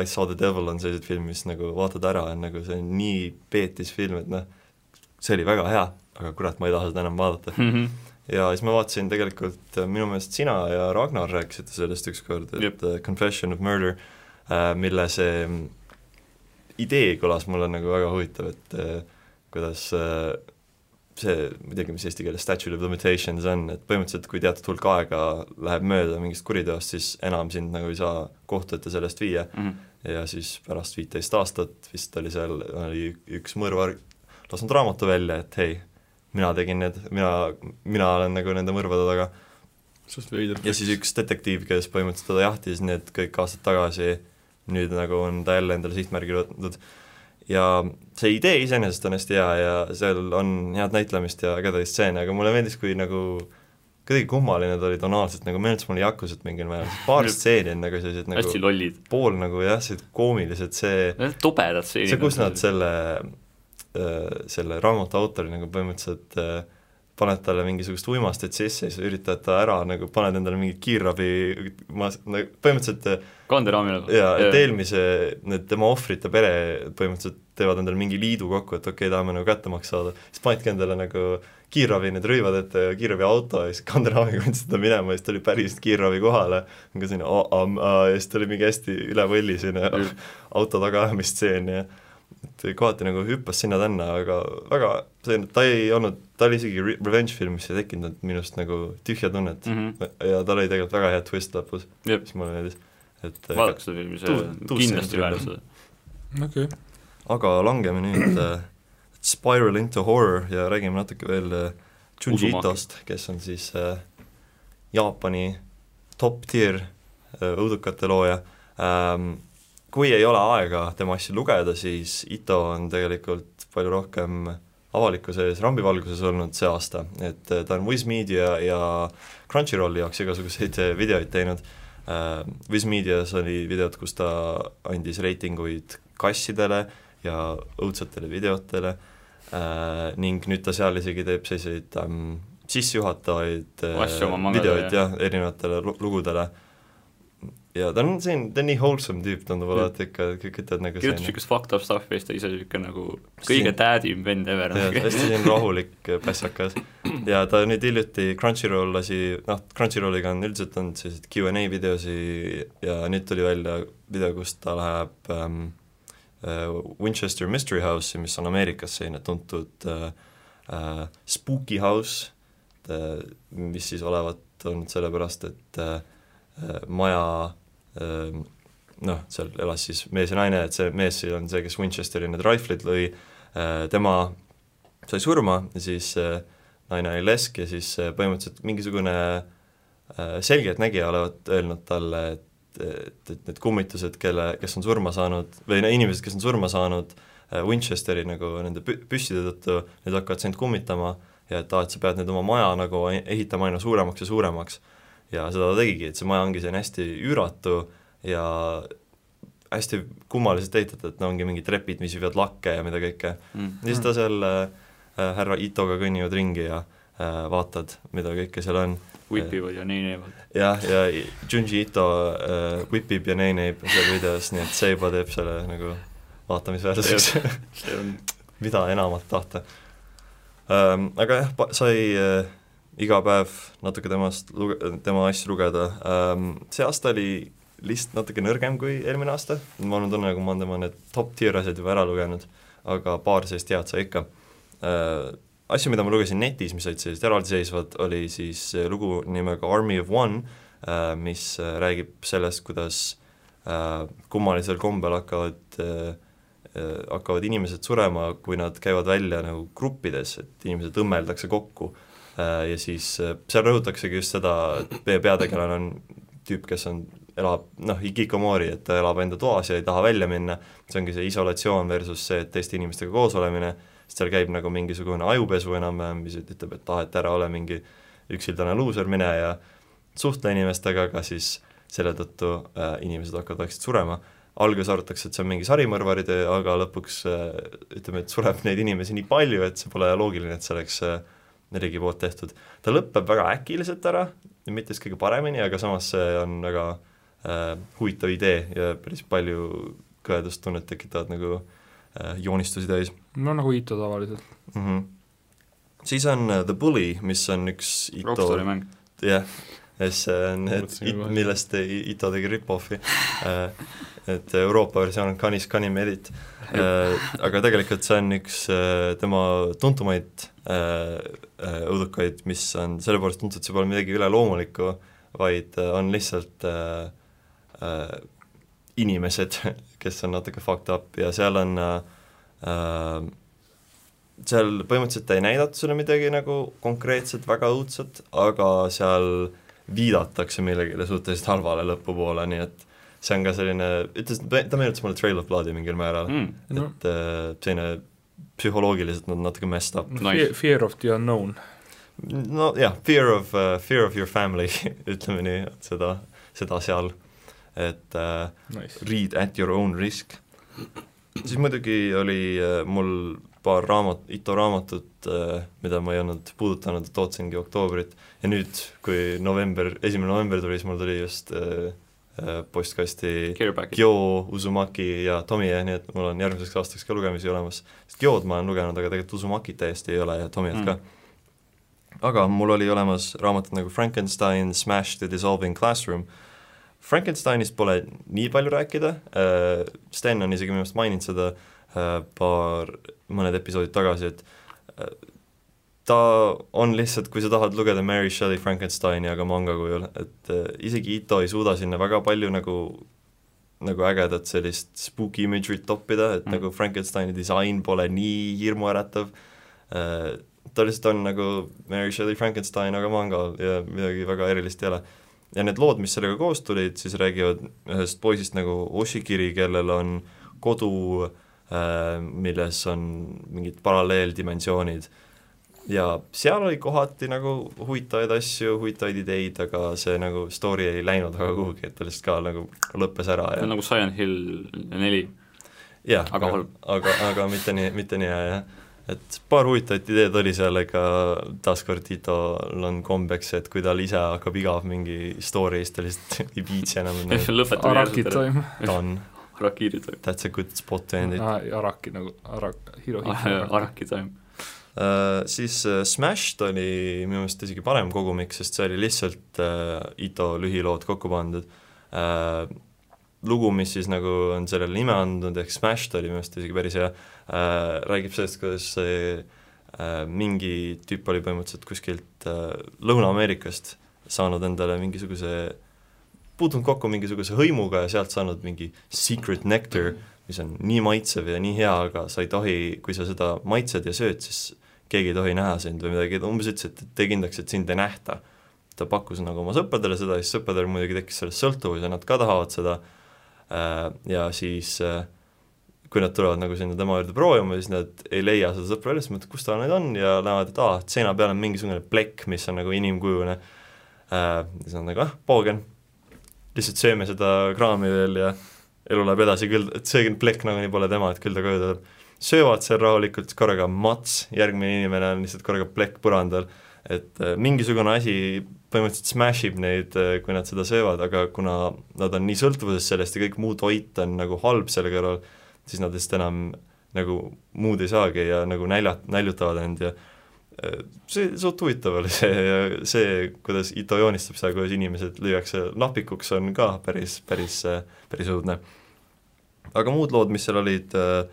Speaker 1: I saw the devil on sellised filmid , mis nagu vaatad ära , on nagu see on nii peetis film , et noh , see oli väga hea , aga kurat , ma ei taha seda enam vaadata .
Speaker 3: Mhm,
Speaker 1: ja siis ma vaatasin tegelikult , minu meelest sina ja Ragnar rääkisite sellest ükskord , et
Speaker 3: Jep.
Speaker 1: äh, Confession of Murder , mille see mm, idee kõlas mulle nagu väga huvitav , et äh, kuidas äh, see , ma ei teagi , mis eesti keeles statute of limitations on , et põhimõtteliselt kui teatud hulk aega läheb mööda mingist kuriteost , siis enam sind nagu ei saa kohtu ette sellest viia
Speaker 3: mhm.
Speaker 1: ja siis pärast viiteist aastat vist oli seal , oli ük- üks mõrvar lasknud raamatu välja , et hei , mina tegin need , mina , mina olen nagu nende mõrvade taga
Speaker 4: suht veider .
Speaker 1: ja siis üks detektiiv , kes põhimõtteliselt teda jahtis need kõik aastad tagasi , nüüd nagu on ta jälle endale sihtmärgi võtnud ja see idee iseenesest on hästi hea ja seal on head näitlemist ja ägedaid stseene , aga mulle meeldis , kui nagu kuidagi kummaline ta oli tonaalselt , nagu meenutas mulle Jakusat mingil määral , paar stseeni on nagu sellised
Speaker 3: hästi
Speaker 1: nagu
Speaker 3: lollid .
Speaker 1: pool nagu jah , sellised koomilised , see
Speaker 3: tobedad stseenid .
Speaker 1: see , kus nad selle , selle raamatu autori nagu põhimõtteliselt äh, paned talle mingisugust uimastet sisse ja siis üritad ta ära nagu , paned endale mingi kiirabi , ma nagu, põhimõtteliselt äh,
Speaker 3: kanderaamil .
Speaker 1: jaa , et eelmise , need tema ohvrite pere põhimõtteliselt teevad endale mingi liidu kokku , et okei okay, , tahame nagu kätte maksa saada , siis panidki endale nagu kiirabi need rõivad ette ja kiirabiauto ja siis kanderaamiga võtsid ta minema ja siis tuli päris kiirabi kohale , nagu selline oh, um, uh, ja siis tuli mingi hästi üle võlli selline
Speaker 3: Just.
Speaker 1: auto tagaajamisstseen ja et kohati nagu hüppas sinna-tänna , aga väga , see , ta ei olnud , ta oli isegi re- revenge filmis ei tekitanud minust nagu tühja tunnet
Speaker 3: mm . -hmm.
Speaker 1: ja tal oli tegelikult väga hea twist lõpus ,
Speaker 3: jep ,
Speaker 1: mis mulle meeldis , et
Speaker 3: vaadake seda filmi , see
Speaker 1: Tuus-
Speaker 3: on
Speaker 1: Tuus-
Speaker 3: kindlasti
Speaker 1: Tuus-
Speaker 3: väärt seda .
Speaker 2: okei okay. ,
Speaker 1: aga langeme nüüd äh, Spiral into Horror ja räägime natuke veel äh, Junji
Speaker 3: Usumaki.
Speaker 1: Itost , kes on siis äh, Jaapani top tier äh, õudukate looja ähm, . kui ei ole aega tema asju lugeda , siis Ito on tegelikult palju rohkem avalikkuse ees rambivalguses olnud see aasta , et äh, ta on Wiz Media ja Crunchyrolli jaoks igasuguseid äh, videoid teinud äh, . Wiz Medias oli videod , kus ta andis reitinguid kassidele , ja õudsatele videotele äh, ning nüüd ta seal isegi teeb selliseid ähm, sissejuhatavaid äh,
Speaker 3: Asju oma mangade,
Speaker 1: videoid jah , erinevatele lu- lugudele . ja ta on siin , ta on nii wholesome tüüp , tundub olevat ikka , kõik ütlevad nagu
Speaker 3: kirjutab
Speaker 1: selline
Speaker 3: niisugust fucked up stuff'i ja siis ta ise niisugune nagu kõige
Speaker 1: Siin-
Speaker 3: tädim vend ever
Speaker 1: jah , hästi
Speaker 3: on .
Speaker 1: selline rahulik äh, pässakas ja ta nüüd hiljuti Crunchyroll lasi , noh , Cruncyrolliga on üldiselt olnud selliseid Q&A videosi ja nüüd tuli välja video , kus ta läheb ähm, äh, Winchester Mystery House'i , mis on Ameerikas selline tuntud äh, äh, spooky house äh, , mis siis olevat olnud sellepärast , et äh, äh, maja äh, noh , seal elas siis mees ja naine , et see mees siis on see , kes Winchesteri need riflid lõi äh, , tema sai surma ja siis äh, naine oli lesk ja siis äh, põhimõtteliselt mingisugune äh, selgeltnägija olevat öelnud talle , et et , et need kummitused , kelle , kes on surma saanud või no inimesed , kes on surma saanud äh, Winchesteri nagu nende pü- , püsside tõttu , need hakkavad sind kummitama ja et aa , et sa pead nüüd oma maja nagu e- ehitama aina suuremaks ja suuremaks . ja seda ta tegigi , et see maja ongi selline hästi üüratu ja hästi kummaliselt ehitatud , et no ongi mingid trepid , mis viivad lakke ja mida kõike ,
Speaker 3: Mm.
Speaker 1: ja siis ta seal äh, äh, härra Itoga kõnnivad ringi ja äh, vaatad , mida kõike seal on .
Speaker 3: Whipivad ja neinevad .
Speaker 1: jah , ja Junji Ito äh, whipib ja neineib seal videos , nii et see juba teeb selle nagu vaatamisväärseks ,
Speaker 3: see on
Speaker 1: mida enamat tahta ähm, . aga jah , sai äh, iga päev natuke temast luge- , tema asju lugeda ähm, . see aasta oli lihtsalt natuke nõrgem kui eelmine aasta , mul on tunne , nagu ma olen tema need top tier asjad juba ära lugenud , aga paar sellist head sai ikka äh, . asju , mida ma lugesin netis , mis olid sellised eraldiseisvad , oli siis äh, lugu nimega Army of One äh, , mis äh, räägib sellest , kuidas äh, kummalisel kombel hakkavad äh, äh, hakkavad inimesed surema , kui nad käivad välja nagu gruppides , et inimesed õmmeldakse kokku äh, ja siis äh, seal rõhutaksegi just seda , et meie peategelane on tüüp , kes on , elab noh , ikikomori , et ta elab enda toas ja ei taha välja minna , see ongi see isolatsioon versus see , et teiste inimestega koos olemine , sest seal käib nagu mingisugune ajupesu enam-vähem , mis ütleb , et ah , et ära ole mingi üksildane luuser , mine ja suhtle inimestega , aga siis selle tõttu äh, inimesed hakkavad vaikselt surema . alguses arvatakse , et see on mingi sarimõrvari töö , aga lõpuks äh, ütleme , et sureb neid inimesi nii palju , et see pole loogiline , et see oleks äh, riigi poolt tehtud . ta lõpeb väga äkiliselt ära , mitte just kõige paremini , aga samas see on väga äh, huvitav idee ja päris palju kõhedustunnet tekitavad nagu äh, joonistusi täis
Speaker 2: no nagu Ito tavaliselt ,
Speaker 1: mm . -hmm. siis on äh, The Bully , mis on üks Ito
Speaker 3: rokkstaari mäng .
Speaker 1: jah , see on ,
Speaker 4: Mõtlesin juba.
Speaker 1: millest I- Ito tegi rip-offi äh, , et Euroopa versioon on Canis Canim Edit äh, , aga tegelikult see on üks äh, tema tuntumaid äh, äh, õudukaid , mis on selle poolest tuntud , see pole midagi üleloomulikku , vaid äh, on lihtsalt äh, äh, inimesed , kes on natuke fucked up ja seal on äh, äh, seal põhimõtteliselt ei näidata sulle midagi nagu konkreetselt väga õudset , aga seal viidatakse millegile suhteliselt halvale lõpupoole , nii et see on ka selline , ütles , ta meenutas mulle Trail of Blood'i mingil määral mm. ,
Speaker 2: no
Speaker 1: et äh, selline psühholoogiliselt nad natuke messed up .
Speaker 2: nice.
Speaker 3: Nice.
Speaker 2: Fear of the unknown ,
Speaker 1: no jah , fear of uh, , fear of your family , ütleme nii , et seda , seda seal , et äh,
Speaker 2: nice .
Speaker 1: read at your own risk . siis muidugi oli äh, mul paar raamat , Ito raamatut , mida ma ei olnud puudutanud , et ootasingi oktoobrit ja nüüd , kui november , esimene november tuli , siis mul tuli just äh, äh, postkasti
Speaker 3: Gearback'i .
Speaker 1: Gyo , Uzumaki ja Tomie , nii et mul on järgmiseks aastaks ka lugemisi olemas , sest Gyod ma olen lugenud , aga tegelikult Uzumakit täiesti ei ole ja Tomiet mm. ka . aga mul oli olemas raamatud nagu Frankenstein , Smash the Dissolving Classroom , Äh, Frankensteinist pole nii palju rääkida , Sten on isegi minu arust maininud seda , äh, paar , mõned episoodid tagasi , et äh, ta on lihtsalt , kui sa tahad lugeda Mary Shelley Frankensteini , aga manga kujul , et äh, isegi Ito ei suuda sinna väga palju nagu nagu ägedat sellist spooky image'it toppida , et
Speaker 3: Mm.
Speaker 1: mm. nagu Frankensteini disain pole nii hirmuäratav , ta lihtsalt on nagu Mary Shelley Frankenstein , aga manga ja midagi väga erilist ei ole . ja need lood , mis sellega koos tulid , siis räägivad ühest poisist nagu Oshikiri , kellel on kodu , milles on mingid paralleeldimensioonid ja seal oli kohati nagu huvitavaid asju , huvitavaid ideid , aga see nagu story ei läinud väga kuhugi , et ta lihtsalt ka nagu lõppes ära
Speaker 3: see
Speaker 1: ja
Speaker 3: on nagu Silent Hill neli ,
Speaker 1: jah ,
Speaker 3: aga halb.
Speaker 1: aga , aga mitte nii , mitte nii hea jah . et paar huvitavat ideed oli seal , ega taaskord Titol on kombeks , et kui tal ise hakkab igav mingi story , siis ta lihtsalt ei viitsi enam nagu, ,
Speaker 3: lõpetab
Speaker 2: Araki toim ,
Speaker 1: done ,
Speaker 3: Arakiiri toim ,
Speaker 1: that's a good spot to end it .
Speaker 2: Araki nagu , Arak ,
Speaker 1: Ah,
Speaker 2: Hirohiko .
Speaker 3: Araki toim .
Speaker 1: Äh, siis äh, Smashed oli minu meelest isegi parem kogumik , sest see oli lihtsalt äh, Ito lühilood kokku pandud äh, . lugu , mis siis nagu on sellele nime andnud , ehk Smashed oli minu meelest isegi päris hea äh, , räägib sellest , kuidas see äh, mingi tüüp oli põhimõtteliselt kuskilt äh, Lõuna-Ameerikast saanud endale mingisuguse , puutunud kokku mingisuguse hõimuga ja sealt saanud mingi secret nectar , mis on nii maitsev ja nii hea , aga sa ei tohi , kui sa seda maitsed ja sööd , siis keegi ei tohi näha sind või midagi , ta umbes ütles , et tee kindlaks , et sind ei nähta . ta pakkus nagu oma sõpradele seda ja siis sõpradel muidugi tekkis sellest sõltuvus ja nad ka tahavad seda Äh, ja siis äh, kui nad tulevad nagu sinna tema juurde proovima , siis nad ei leia seda sõpra üles , mõtlevad , kus ta nüüd on ja näevad , et aa , et seina peal on mingisugune plekk , mis on nagu inimkujune äh, . siis nad nagu ah , poogen , lihtsalt sööme seda kraami veel ja elu läheb edasi , küll , et see plekk nagunii pole tema , et küll ta koju tuleb . söövad seal rahulikult , siis korraga mats , järgmine inimene on lihtsalt korraga plekk põrandal , et äh, mingisugune asi põhimõtteliselt smash ib neid , kui nad seda söövad , aga kuna nad on nii sõltuvuses sellest ja kõik muu toit on nagu halb selle kõrval , siis nad vist enam nagu muud ei saagi ja nagu nälja , näljutavad end ja äh, see , suht huvitav oli see ja see , kuidas Ito joonistab seda , kuidas inimesed lüüakse lapikuks , on ka päris , päris , päris õudne . aga muud lood , mis seal olid äh, ,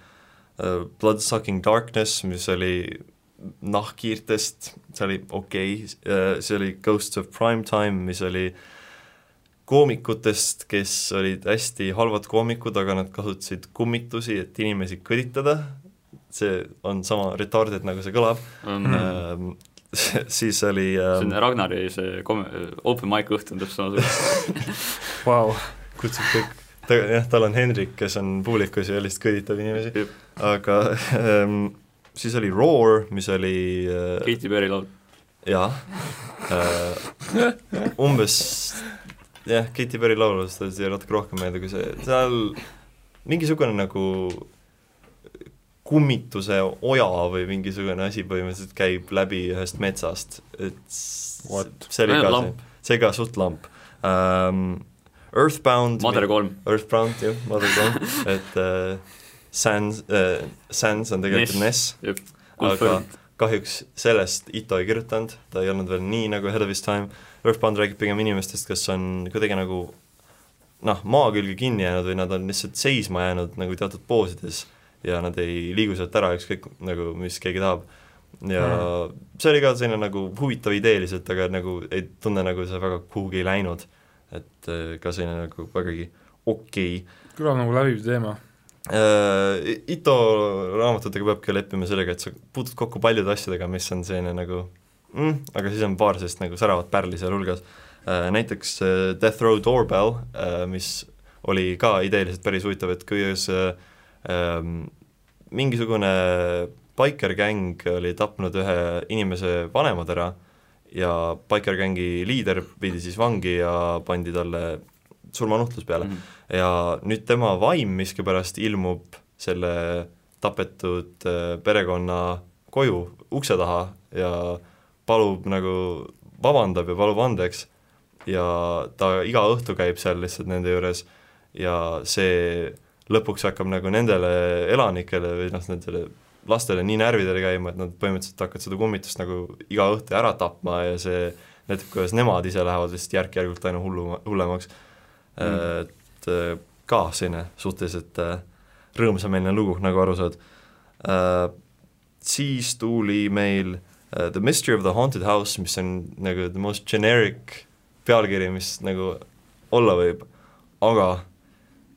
Speaker 1: äh, Bloodsucking Darkness , mis oli nahkhiirtest , see oli okei okay. , see oli Ghosts of Primetime , mis oli koomikutest , kes olid hästi halvad koomikud , aga nad kasutasid kummitusi , et inimesi kõditada , see on sama retarded , nagu see kõlab
Speaker 3: see
Speaker 1: mm. , siis oli äh,
Speaker 3: on Ragnari see kom- , open mic õht on täpselt samasugune ,
Speaker 2: Vau ,
Speaker 1: kutsub kõik , ta jah , tal on Hendrik , kes on publikus ja lihtsalt kõditab inimesi
Speaker 3: Jep. ,
Speaker 1: aga ähm, siis oli Roar , mis oli äh,
Speaker 3: Katy Perry laul .
Speaker 1: jah äh, , umbes jah , Katy Perry laulus , ta sai natuke rohkem meelde kui see , seal mingisugune nagu kummituse oja või mingisugune asi põhimõtteliselt käib läbi ühest metsast , et s-
Speaker 2: What?
Speaker 1: see oli ka
Speaker 3: Lamp.
Speaker 1: see , see ka suht lamp um, . Earthbound
Speaker 3: Mother kolm ,
Speaker 1: Earthbound jah , Mother Gone , et äh, Sans äh, , Sans on tegelikult Ness,
Speaker 3: jep.
Speaker 1: aga
Speaker 3: Confirmed.
Speaker 1: kahjuks sellest Ito ei kirjutanud , ta ei olnud veel nii nagu Ahead of his time , Earthbound räägib pigem inimestest , kes on kuidagi nagu noh , maa külge kinni jäänud või nad on lihtsalt seisma jäänud nagu teatud poosides ja nad ei liigu sealt ära , ükskõik nagu , mis keegi tahab . ja mm. see oli ka selline nagu huvitav idee lihtsalt , aga nagu ei tunne , nagu see väga kuhugi ei läinud . et äh, ka selline nagu vägagi okei okay. .
Speaker 2: kõlab nagu läbiv teema .
Speaker 1: Äh, Ito raamatutega peabki leppima sellega , et sa puutud kokku paljude asjadega , mis on selline nagu mm, aga siis on paar sellist nagu säravat pärli seal hulgas . näiteks äh, Death Row Doorbell , mis oli ka ideeliselt päris huvitav , et kuidas äh, ähm, mingisugune biker gäng oli tapnud ühe inimese vanemad ära ja biker gängi liider viidi siis vangi ja pandi talle surmanuhtlus peale .
Speaker 3: Mm.
Speaker 1: ja nüüd tema vaim miskipärast ilmub selle tapetud äh, perekonna koju ukse taha ja palub nagu , vabandab ja palub andeks ja ta iga õhtu käib seal lihtsalt nende juures ja see lõpuks hakkab nagu nendele elanikele või noh , nendele lastele nii närvidele käima , et nad põhimõtteliselt hakkavad seda kummitust nagu iga õhtu ära tapma ja see näitab , kuidas nemad ise lähevad lihtsalt järk-järgult aina hullu , hullemaks mm. . et äh, ka selline suhteliselt äh, rõõmsameelne lugu , nagu aru saad äh, . siis tuli meil äh, The Mystery of the Haunted House , mis on nagu the most generic pealkiri , mis nagu olla võib , aga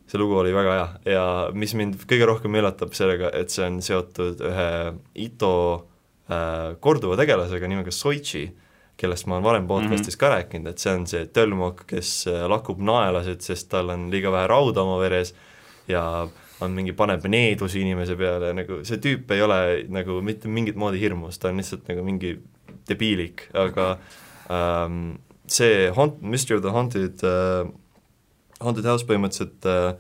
Speaker 1: see lugu oli väga hea ja mis mind kõige rohkem üllatab sellega , et see on seotud ühe Ito äh, korduva tegelasega nimega Soichi , kellest ma olen varem podcast'is mm -hmm. ka rääkinud , et see on see tölmok , kes äh, lakub naelasid , sest tal on liiga vähe rauda oma veres ja on mingi , paneb needusi inimese peale , nagu see tüüp ei ole nagu mitte mingit moodi hirmus , ta on lihtsalt nagu mingi debiilik , aga ähm, see Haunt- , Mystery of the Haunted äh, , Haunted House põhimõtteliselt äh,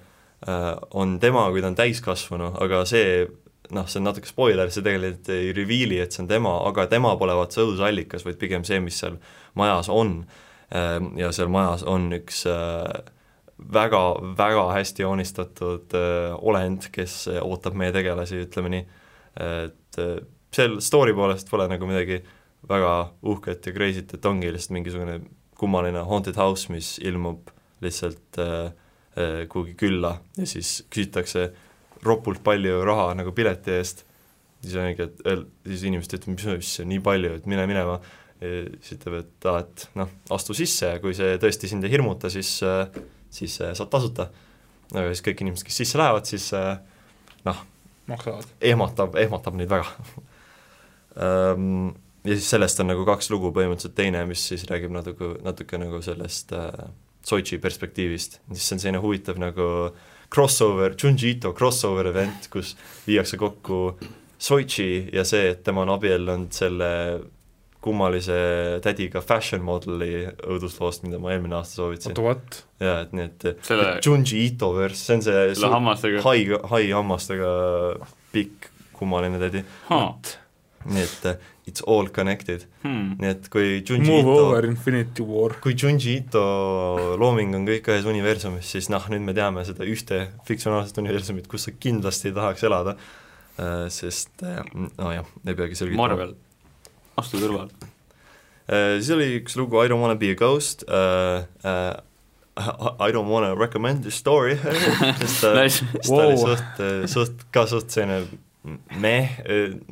Speaker 1: äh, on tema , kui ta on täiskasvanu , aga see noh , see on natuke spoiler , see tegelikult ei reveal'i , et see on tema , aga tema pole vaat see õudusallikas , vaid pigem see , mis seal majas on Ähm, ja seal majas on üks äh, väga , väga hästi joonistatud äh, olend , kes äh, ootab meie tegelasi , ütleme nii , et äh, seal story poolest pole nagu midagi väga uhket ja crazy't , et ongi lihtsalt mingisugune kummaline haunted house , mis ilmub lihtsalt äh, äh, kuhugi külla ja siis küsitakse ropult palju raha nagu pileti eest , siis ongi , et öel- siis inimesed ütlevad , mis asja , nii palju , et mine minema , siis ütleb , et aa , et noh , astu sisse ja kui see tõesti sind ei hirmuta , siis , siis äh, saad tasuta . aga siis kõik inimesed , kes sisse lähevad , siis äh,
Speaker 2: maksavad .
Speaker 1: ehmatab , ehmatab neid väga . ja siis sellest on nagu kaks lugu põhimõtteliselt , teine , mis siis räägib natuke , natuke nagu sellest äh, Soichi perspektiivist , siis see on selline huvitav nagu crossover , Junji Ito crossover event , kus viiakse kokku Soichi ja see , et tema on abiellunud selle kummalise tädiga fashion modeli õudusloost , mida ma eelmine aasta soovitasin .
Speaker 2: oota , what ?
Speaker 1: jaa , et nii , et
Speaker 3: Selle-
Speaker 1: Junji Ito verse , see on see
Speaker 3: selle hammastega ,
Speaker 1: hai , hai hammastega pikk kummaline tädi , nii et äh, it's all connected ,
Speaker 3: Hmm.
Speaker 1: nii et kui Junji
Speaker 2: Move
Speaker 1: Ito ,
Speaker 2: over Infinity War .
Speaker 1: kui Junji Ito looming on kõik ühes universumis , siis noh , nüüd me teame seda ühte fiktsionaalset universumit , kus sa kindlasti ei tahaks elada , sest äh, nojah , ei peagi selgitama .
Speaker 3: Marvel , astu kõrvale .
Speaker 1: Eh, siis oli üks lugu I don't wanna be a ghost uh, , uh, I don't wanna recommend this story , sest eh, ta
Speaker 3: Nice.
Speaker 1: sest ta oli
Speaker 2: Wow.
Speaker 1: suht , suht , ka suht selline meh ,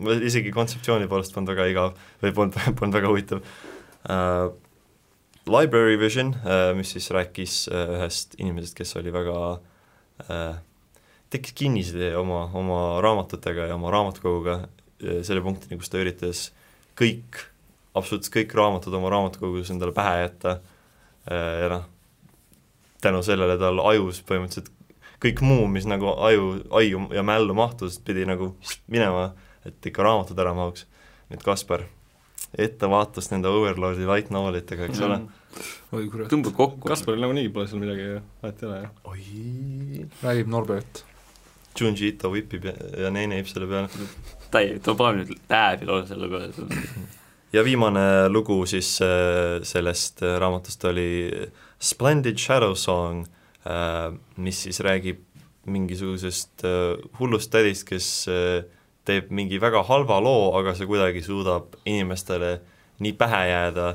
Speaker 1: ma isegi kontseptsiooni poolest polnud väga igav või polnud , polnud väga huvitav uh, . Library Vision uh, , mis siis rääkis uh, ühest inimesest , kes oli väga uh, , tekkis kinnisidee oma , oma raamatutega ja oma raamatukoguga eh, selle punktini , kus ta üritas kõik , absoluutselt kõik raamatud oma raamatukogus endale pähe jätta Eh, ja noh , tänu sellele tal ajus põhimõtteliselt kõik muu , mis nagu aju , aiu ja mällu mahtus , pidi nagu minema , et ikka raamatud ära mahuks . nüüd Kaspar , ettevaatust nende Overlordi light novelitega , eks ole .
Speaker 2: oi kurat ,
Speaker 3: tõmbab kokku .
Speaker 4: Kasparil nagunii pole seal midagi , vahet ei ole ju .
Speaker 1: oi ,
Speaker 2: räägib Norbert .
Speaker 1: Junji Ito vipib ja, ja neeneib selle peale .
Speaker 3: täi- , ta paneb nüüd lääbi lausa selle peale .
Speaker 1: ja viimane lugu siis äh, sellest äh, raamatust oli Splendid Shadow Song , mis siis räägib mingisugusest äh, hullust tädist , kes äh, teeb mingi väga halva loo , aga see kuidagi suudab inimestele nii pähe jääda ,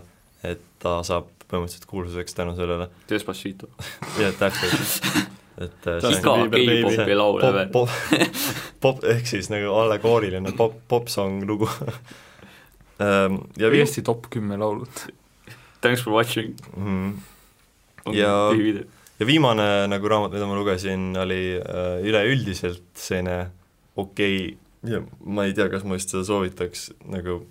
Speaker 1: et ta saab põhimõtteliselt kuulsuseks tänu sellele .
Speaker 3: Despacito .
Speaker 1: jah , täpselt . et äh,
Speaker 4: Justin
Speaker 1: see
Speaker 3: iga
Speaker 1: on-
Speaker 4: Bieber, baby.
Speaker 3: geipopi laul
Speaker 1: pop ,
Speaker 3: veel .
Speaker 1: pop , pop ehk siis nagu allegooriline pop , popsong lugu . ja viis-
Speaker 2: Eesti top kümme laulut .
Speaker 3: Thanks for watching .
Speaker 1: mm, Ja- ja viimane nagu raamat , mida ma lugesin , oli äh, üleüldiselt selline okei okay, , ma ei tea , kas ma vist seda soovitaks nagu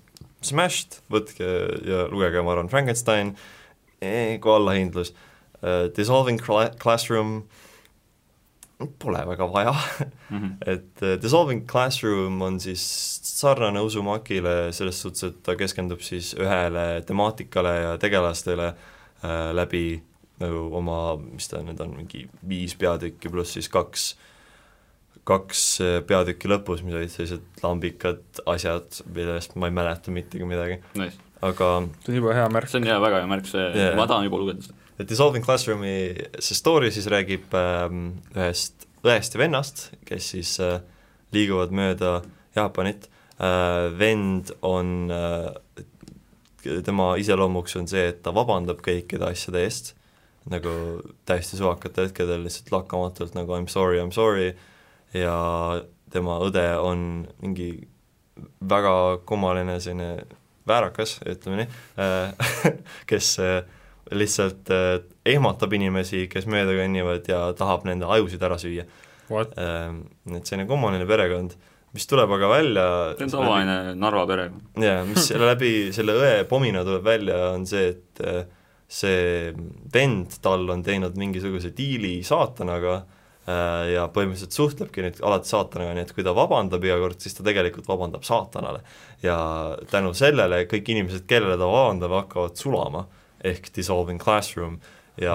Speaker 1: Smashed , võtke ja lugege , ma arvan , Frankenstein eh, , kui allahindlus äh, , Dissolving Cla- Classroom , pole väga vaja , et äh, Dissolving Classroom on siis sarnane Usumakile selles suhtes , et ta keskendub siis ühele temaatikale ja tegelastele äh, läbi nagu oma , mis ta nüüd on , mingi viis peatükki pluss siis kaks , kaks äh, peatükki lõpus , mis olid sellised lambikad asjad , millest ma ei mäleta mitte midagi ,
Speaker 3: Nice ,
Speaker 1: aga
Speaker 2: see on jube hea märk .
Speaker 3: see on hea , väga hea märk , see
Speaker 1: Jaa.
Speaker 3: yeah. , ma tahan juba lugeda seda .
Speaker 1: et Dissolving Classroomi see story siis räägib ähm, ühest õest ja vennast , kes siis äh, liiguvad mööda Jaapanit äh, , vend on äh, , tema iseloomuks on see , et ta vabandab kõikide asjade eest , nagu täiesti suvakatel hetkedel lihtsalt lakkamatult nagu I m sorry , I m sorry ja tema õde on mingi väga kummaline selline väärakas, ütleme nii , kes äh, lihtsalt äh, ehmatab inimesi , kes mööda kõnnivad ja tahab nende ajusid ära süüa .
Speaker 2: What ?
Speaker 1: et selline kummaline perekond , mis tuleb aga välja
Speaker 3: see on tavaline Narva perekond .
Speaker 1: jaa , mis selle läbi , selle õe pomina tuleb välja , on see , et äh, see vend tal on teinud mingisuguse diili saatanaga äh, ja põhimõtteliselt suhtlebki nüüd alati saatanaga , nii et kui ta vabandab iga kord , siis ta tegelikult vabandab saatanale . ja tänu sellele kõik inimesed , kellele ta vabandab , hakkavad sulama ehk dissolving classroom ja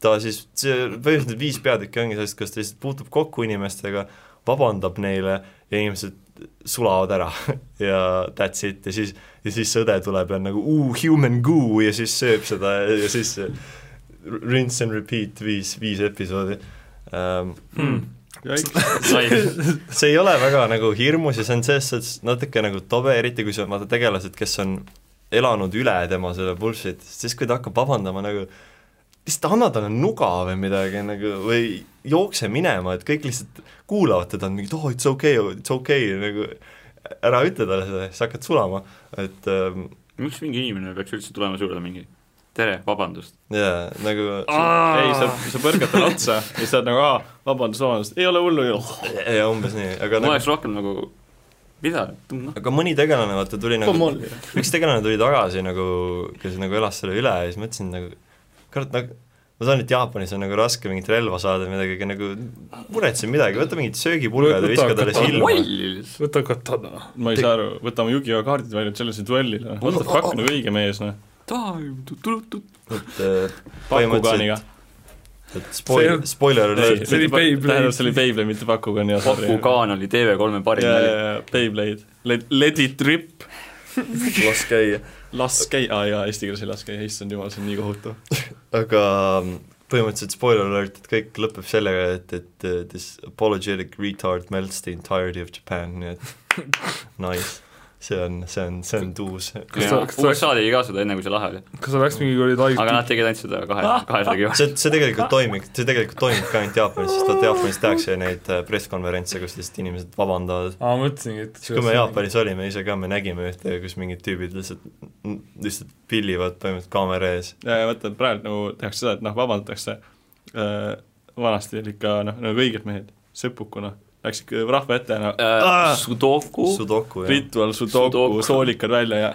Speaker 1: ta siis , see põhimõtteliselt need viis peatükki ongi sellest , kas ta lihtsalt puutub kokku inimestega , vabandab neile ja inimesed sulavad ära ja that's it ja siis , ja siis see õde tuleb ja on nagu uu , human goo ja siis sööb seda ja, ja siis see rinse and repeat viis , viis episoodi um, . see ei ole väga nagu hirmus ja see on selles suhtes natuke nagu tobe , eriti kui sa vaata tegelased , kes on elanud üle tema selle bullshit , siis kui ta hakkab vabandama nagu lihtsalt anna talle nuga või midagi nagu või jookse minema , et kõik lihtsalt kuulavad teda , mingid oh it's okay , it's okay nagu ära ütle talle seda , siis hakkad sulama , et ähm,
Speaker 3: miks mingi inimene peaks üldse tulema sulle mingi tere , vabandust ?
Speaker 1: jaa , nagu
Speaker 4: ei , sa , sa põrgad talle otsa ja siis sa oled nagu , aa , vabandust , vabandust , ei ole hullu
Speaker 1: Oh,
Speaker 4: ju .
Speaker 1: ja umbes nii , aga
Speaker 3: ma
Speaker 1: nagu,
Speaker 3: oleks rohkem nagu , mida , noh ,
Speaker 1: aga mõni tegelane vaata tuli
Speaker 4: Come
Speaker 1: nagu
Speaker 4: on .
Speaker 1: üks tegelane tuli tagasi nagu , kes nagu elas selle üle ja siis mõtlesin nagu , kurat , nagu ma saan , et Jaapanis on nagu raske mingit relva saada või midagi , aga nagu muretse midagi , võta mingid söögipulgad ja
Speaker 2: Võta
Speaker 1: viska talle
Speaker 2: kata-
Speaker 1: silma .
Speaker 3: vallis .
Speaker 2: võta katana .
Speaker 4: ma ei saa aru , võtame Yugi-Oh kaardid välja , et sellesse duellile , what the fuck , nagu õige mees , noh .
Speaker 1: et äh,
Speaker 4: Bakuganiga
Speaker 1: põhimõtteliselt ,. et spoil- , spoiler alert ,
Speaker 2: see oli Beyblade.
Speaker 4: tähendab , see oli Beyblade , mitte Bakugani ja
Speaker 3: Bakugan oli TV3-e parim
Speaker 4: ja , ja
Speaker 3: nali .,
Speaker 4: ja Beyblade , Let , Let it rip ,
Speaker 1: las käia .
Speaker 4: las käi- , aa jaa , eesti keeles ei las käi , issand jumal , see on nii kohutav .
Speaker 1: aga mm, põhimõtteliselt spoiler alert , et kõik lõpeb sellega , et , et uh, this apologetic retard melts the entirety of Japan , nii et nice . see on , see on , see on tuus .
Speaker 2: Kas ta- kas ta-
Speaker 3: USA tegi ka seda enne , kui see lahe oli ,
Speaker 2: kas oleks mingi kuradi
Speaker 3: aga
Speaker 2: haig-
Speaker 3: nad tegid ainult seda kahe ,
Speaker 4: Ah!
Speaker 3: kahes regioonis .
Speaker 1: see , see tegelikult toimib , see tegelikult toimibki ainult Jaapanis , sest vaata Jaapanis tehakse neid äh, pressikonverentse , kus lihtsalt inimesed vabandavad .
Speaker 2: aa , ma mõtlesingi , et
Speaker 1: siis kui me Jaapanis olime ise ka , me nägime ühte , kus mingid tüübid lihtsalt , lihtsalt pillivad põhimõtteliselt kaamera ees .
Speaker 4: ja , ja vaata , praegu nagu tehakse seda , et noh , vabandatakse , vanasti oli ikka noh , nagu õiged mehed , sepukuna , läks ikka rahva ette ja noh ,
Speaker 3: Äh, Sudoku ,
Speaker 1: Sudoku ja
Speaker 4: ritual , sudoku
Speaker 3: Sudoku. ,
Speaker 4: soolikad välja ja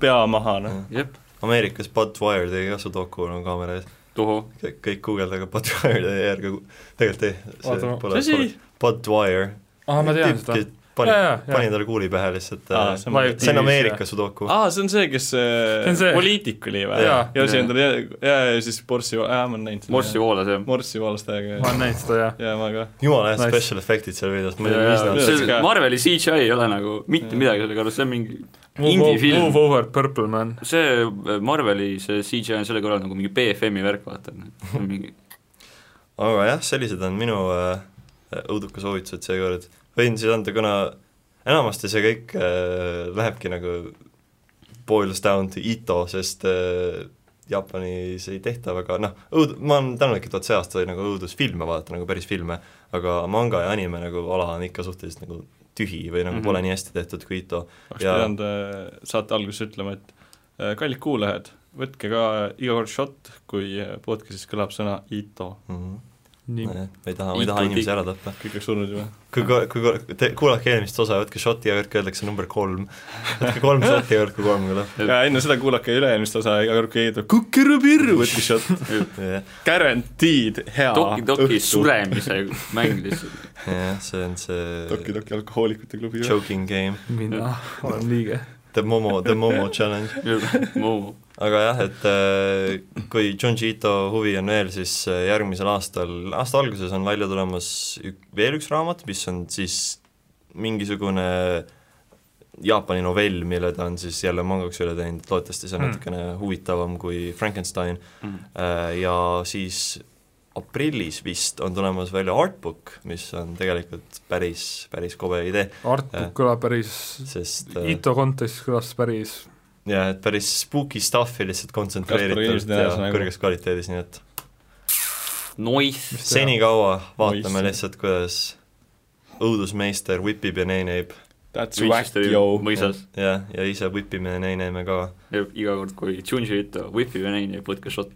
Speaker 4: pea maha , noh .
Speaker 3: jep ,
Speaker 1: Ameerikas Budweier tegi ka Sudoku on kaamera ees .
Speaker 3: tuhu ,
Speaker 1: kõik , kõik guugeldage Budweier järgi , tegelikult ei , see
Speaker 2: Oota,
Speaker 1: pole , pole Budweier .
Speaker 2: aa , ma tean seda .
Speaker 1: panin
Speaker 2: Jaa, jaa, jaa. ,
Speaker 1: panin talle kuuli pähe lihtsalt
Speaker 4: Aa,
Speaker 1: äh,
Speaker 4: see on-
Speaker 1: see on Ameerika
Speaker 2: Ah!
Speaker 1: sudoku .
Speaker 4: aa , see on see , kes see
Speaker 2: on see-
Speaker 4: poliitik oli või ? ja
Speaker 2: Jaa.
Speaker 4: lasi endale , ja , ja siis Morssi , aa , ma olen näinud seda .
Speaker 3: morssi voolas jah .
Speaker 4: Morssi valastajaga
Speaker 2: ma
Speaker 4: ja ,
Speaker 2: olen näinud seda , jah .
Speaker 4: ja ma ka .
Speaker 1: jumala hea
Speaker 2: Nice.
Speaker 1: special efektid seal videos , ma ei tea , mis nad
Speaker 4: jaa.
Speaker 1: seal
Speaker 4: See- ka-
Speaker 3: Marveli CGI ei ole nagu mitte midagi selle kõrval , see on mingi
Speaker 2: Move,
Speaker 3: indie-film.
Speaker 2: move over Purple Man .
Speaker 3: see äh, Marveli see CGI on selle kõrval nagu mingi BFM-i värk , vaata , mingi
Speaker 1: aga jah , sellised on minu äh, õudukasoovitused seekord , võin siis anda , kuna enamasti see kõik äh, lähebki nagu boils down to ito , sest äh, Jaapanis ei tehta väga noh , õud- , ma olen tänulik , et vot see aasta oli nagu õudusfilme vaadata , nagu päris filme , aga manga ja anime nagu ala on ikka suhteliselt nagu tühi või nagu mm
Speaker 3: Mhm.
Speaker 1: -hmm. pole nii hästi tehtud kui ito .
Speaker 4: oleks
Speaker 1: Jaa.
Speaker 4: pidanud äh, saate alguses ütlema , et äh, kallid kuulajad , võtke ka iga kord shot , kui äh, podcastis kõlab sõna Ito .
Speaker 1: Mm -hmm.
Speaker 2: nii .
Speaker 1: ma ei taha , ma ei taha
Speaker 3: Ito
Speaker 1: inimesi
Speaker 3: tik-
Speaker 1: ära tappa .
Speaker 4: kõik oleks surnud juba .
Speaker 1: kui , kui ko- te, kuulake eelmist osa , võtke šoti ja võtke öeldakse number kolm . võtke kolm šoti ja võtke kolm kõlab .
Speaker 4: ja enne seda kuulake üle-eelmist osa , iga kord kui keegi ütleb kukerupirru , võtke shot .
Speaker 1: jah ,
Speaker 4: Guaranteed hea
Speaker 3: Toki-Toki . suremise mäng lihtsalt .
Speaker 1: jah , see on see
Speaker 4: Toki-Toki alkohoolikute klubi .
Speaker 1: choking game ,
Speaker 2: mina olen liige .
Speaker 1: the momo , the momo challenge .
Speaker 3: Muu ,
Speaker 1: aga jah , et äh, kui Junji Ito huvi on veel , siis äh, järgmisel aastal , aasta alguses on välja tulemas ük, veel üks raamat , mis on siis mingisugune Jaapani novell , mille ta on siis jälle mangaks üle teinud , loodetavasti see on
Speaker 2: Hmm.
Speaker 1: natukene huvitavam kui Frankenstein . Äh, ja siis aprillis vist on tulemas välja artbook , mis on tegelikult päris , päris kobe idee ,
Speaker 2: Artbook
Speaker 1: Jah.
Speaker 2: kõlab päris ,
Speaker 1: sest äh,
Speaker 2: Ito kontekstis kõlas päris
Speaker 1: jah , et päris spooky stuff'i lihtsalt
Speaker 4: Kaspar
Speaker 1: kontsentreeritud
Speaker 4: Ilmsed
Speaker 1: ja
Speaker 4: näos nagu.
Speaker 1: kõrges kvaliteedis , nii et
Speaker 3: nois ,
Speaker 2: Mis teha?
Speaker 1: senikaua vaatame
Speaker 4: Oi,
Speaker 1: lihtsalt , kuidas õudusmeister whipib ja neineib ,
Speaker 4: That's whack yo .
Speaker 3: mõisas ,
Speaker 1: jah , ja ise whipime ja neineime ka .
Speaker 3: iga kord , kui Junji "Oh, Ito whipib ja näin ja põtke šot ,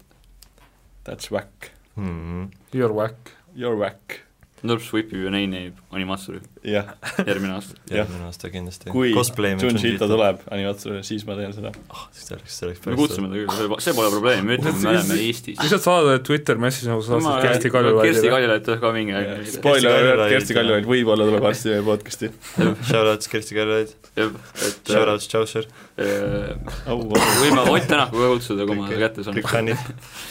Speaker 4: That's whack .
Speaker 1: Hmm,
Speaker 2: You are whack .
Speaker 4: You are whack .
Speaker 3: nõrps whipib ja näin jääb animaatsoril
Speaker 4: jah ,
Speaker 3: järgmine aasta .
Speaker 4: Jah.
Speaker 1: järgmine aasta kindlasti .
Speaker 4: kui Junjita . tuleb animatsioonile , siis ma teen seda .
Speaker 1: siis oleks , see oleks
Speaker 3: me kutsume . ta küll , see pole , see pole probleem , me ütleme , me oleme Eestis .
Speaker 2: lihtsalt saada Twitter message nagu sa
Speaker 3: Ma-
Speaker 2: saad Kersti
Speaker 3: Kersti
Speaker 2: Kaljulaidile .
Speaker 3: Kaljulaid tuleb ka mingi aeg .
Speaker 4: Spoiler alert ,
Speaker 1: Kaljulaid-
Speaker 4: Kersti Kaljulaid võib-olla tuleb varsti meie podcast'i .
Speaker 1: Shoutouts Kersti Kaljulaid ,
Speaker 3: jah , et äh,
Speaker 1: shoutouts Chaucer ,
Speaker 3: äh,
Speaker 4: au ,
Speaker 3: võime Ott Tänaku ka kutsuda , kui ma ta kätte saan .
Speaker 1: kõik fännid .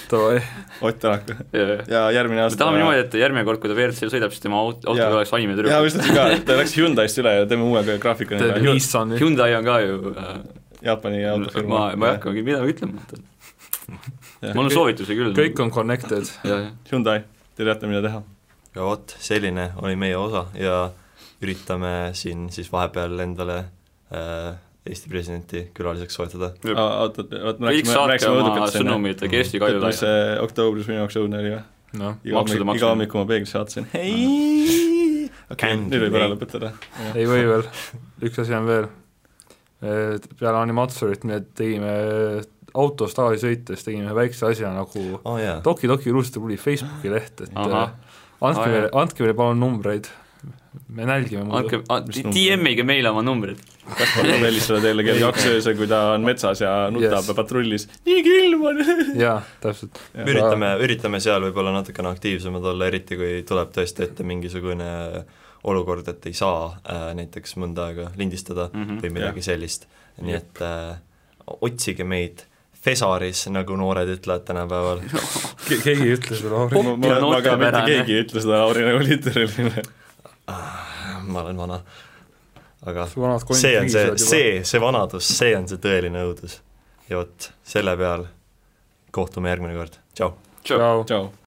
Speaker 2: Davai ,
Speaker 4: Ott Tänak .
Speaker 3: me
Speaker 4: ja järgmine aasta .
Speaker 3: tahame niimoodi , et järgmine kord , kui ta WRC-l sõidab , siis tema aut- autoga
Speaker 4: Jaa.
Speaker 3: oleks anime
Speaker 4: jaa , ma
Speaker 3: tüdruk .
Speaker 4: just mõtlesin ka , ta läks Hyundai'st üle ja teeme uue graafika
Speaker 2: teeme
Speaker 4: nendega .
Speaker 2: Nissani .
Speaker 3: Hyundai on ka ju äh,
Speaker 4: Jaapani autofirma .
Speaker 3: ma , ma ei hakkagi midagi ütlema , et mul on soovitusi küll .
Speaker 2: kõik on connected .
Speaker 3: jah ,
Speaker 4: Hyundai , te teate , mida teha .
Speaker 1: ja vot , selline oli meie osa ja üritame siin siis vahepeal endale äh, Eesti presidenti külaliseks soetada .
Speaker 3: jah .
Speaker 4: oota , oota , me
Speaker 3: kõik
Speaker 4: rääkisime ,
Speaker 3: saatke
Speaker 4: rääkisime
Speaker 3: oma
Speaker 4: õudukatest enne .
Speaker 3: sõnumid Kersti
Speaker 4: tead , mis
Speaker 3: Kaljulaidile .
Speaker 4: see oktoobris minu jaoks õudne oli või ?
Speaker 2: noh ,
Speaker 4: iga
Speaker 3: Maksude
Speaker 4: hommik ,
Speaker 3: maksmine.
Speaker 4: iga hommik , kui ma peeglis vaatasin ,
Speaker 1: ei ,
Speaker 4: okei , nüüd võib ära . lõpetada .
Speaker 2: ei või veel . üks asi on veel . peale animaatsorit me tegime autos tagasi sõites tegime väikse asja nagu
Speaker 1: aa jaa ,
Speaker 2: Toki Toki Ruuste tuli Facebooki leht , et
Speaker 3: Ahah.
Speaker 2: äh, andke
Speaker 3: Aa,
Speaker 2: meile
Speaker 3: jah. ,
Speaker 2: andke meile palun numbreid , me nälgime muidu .
Speaker 3: andke ,
Speaker 4: Mis number?
Speaker 3: DM-ige meile oma numbrid .
Speaker 4: Kaspar tuleb helistada teile kell kaks öösel , kui ta on metsas ja nutab
Speaker 2: Yes.
Speaker 4: patrullis . nii külm on .
Speaker 2: jaa , täpselt .
Speaker 1: üritame , üritame seal võib-olla natukene aktiivsemad olla , eriti kui tuleb tõesti ette mingisugune olukord , et ei saa äh, näiteks mõnda aega lindistada mm -hmm.
Speaker 3: Mhm.
Speaker 1: või midagi sellist , nii et äh, otsige meid Fesaris , nagu noored ütlevad tänapäeval ,
Speaker 2: keegi ei ütle sulle ,
Speaker 1: oh,
Speaker 2: Lauri .
Speaker 4: ma , ma , ma ka mitte
Speaker 3: noortepärane.
Speaker 4: keegi ei ütle seda Lauri nagu literaali .
Speaker 1: ma olen vana , aga
Speaker 2: su vanad kondid
Speaker 1: see on see ,. see , see vanadus , see on see tõeline õudus . ja vot selle peal kohtume järgmine kord , tšau .
Speaker 3: tšau .
Speaker 2: tšau .
Speaker 4: tšau .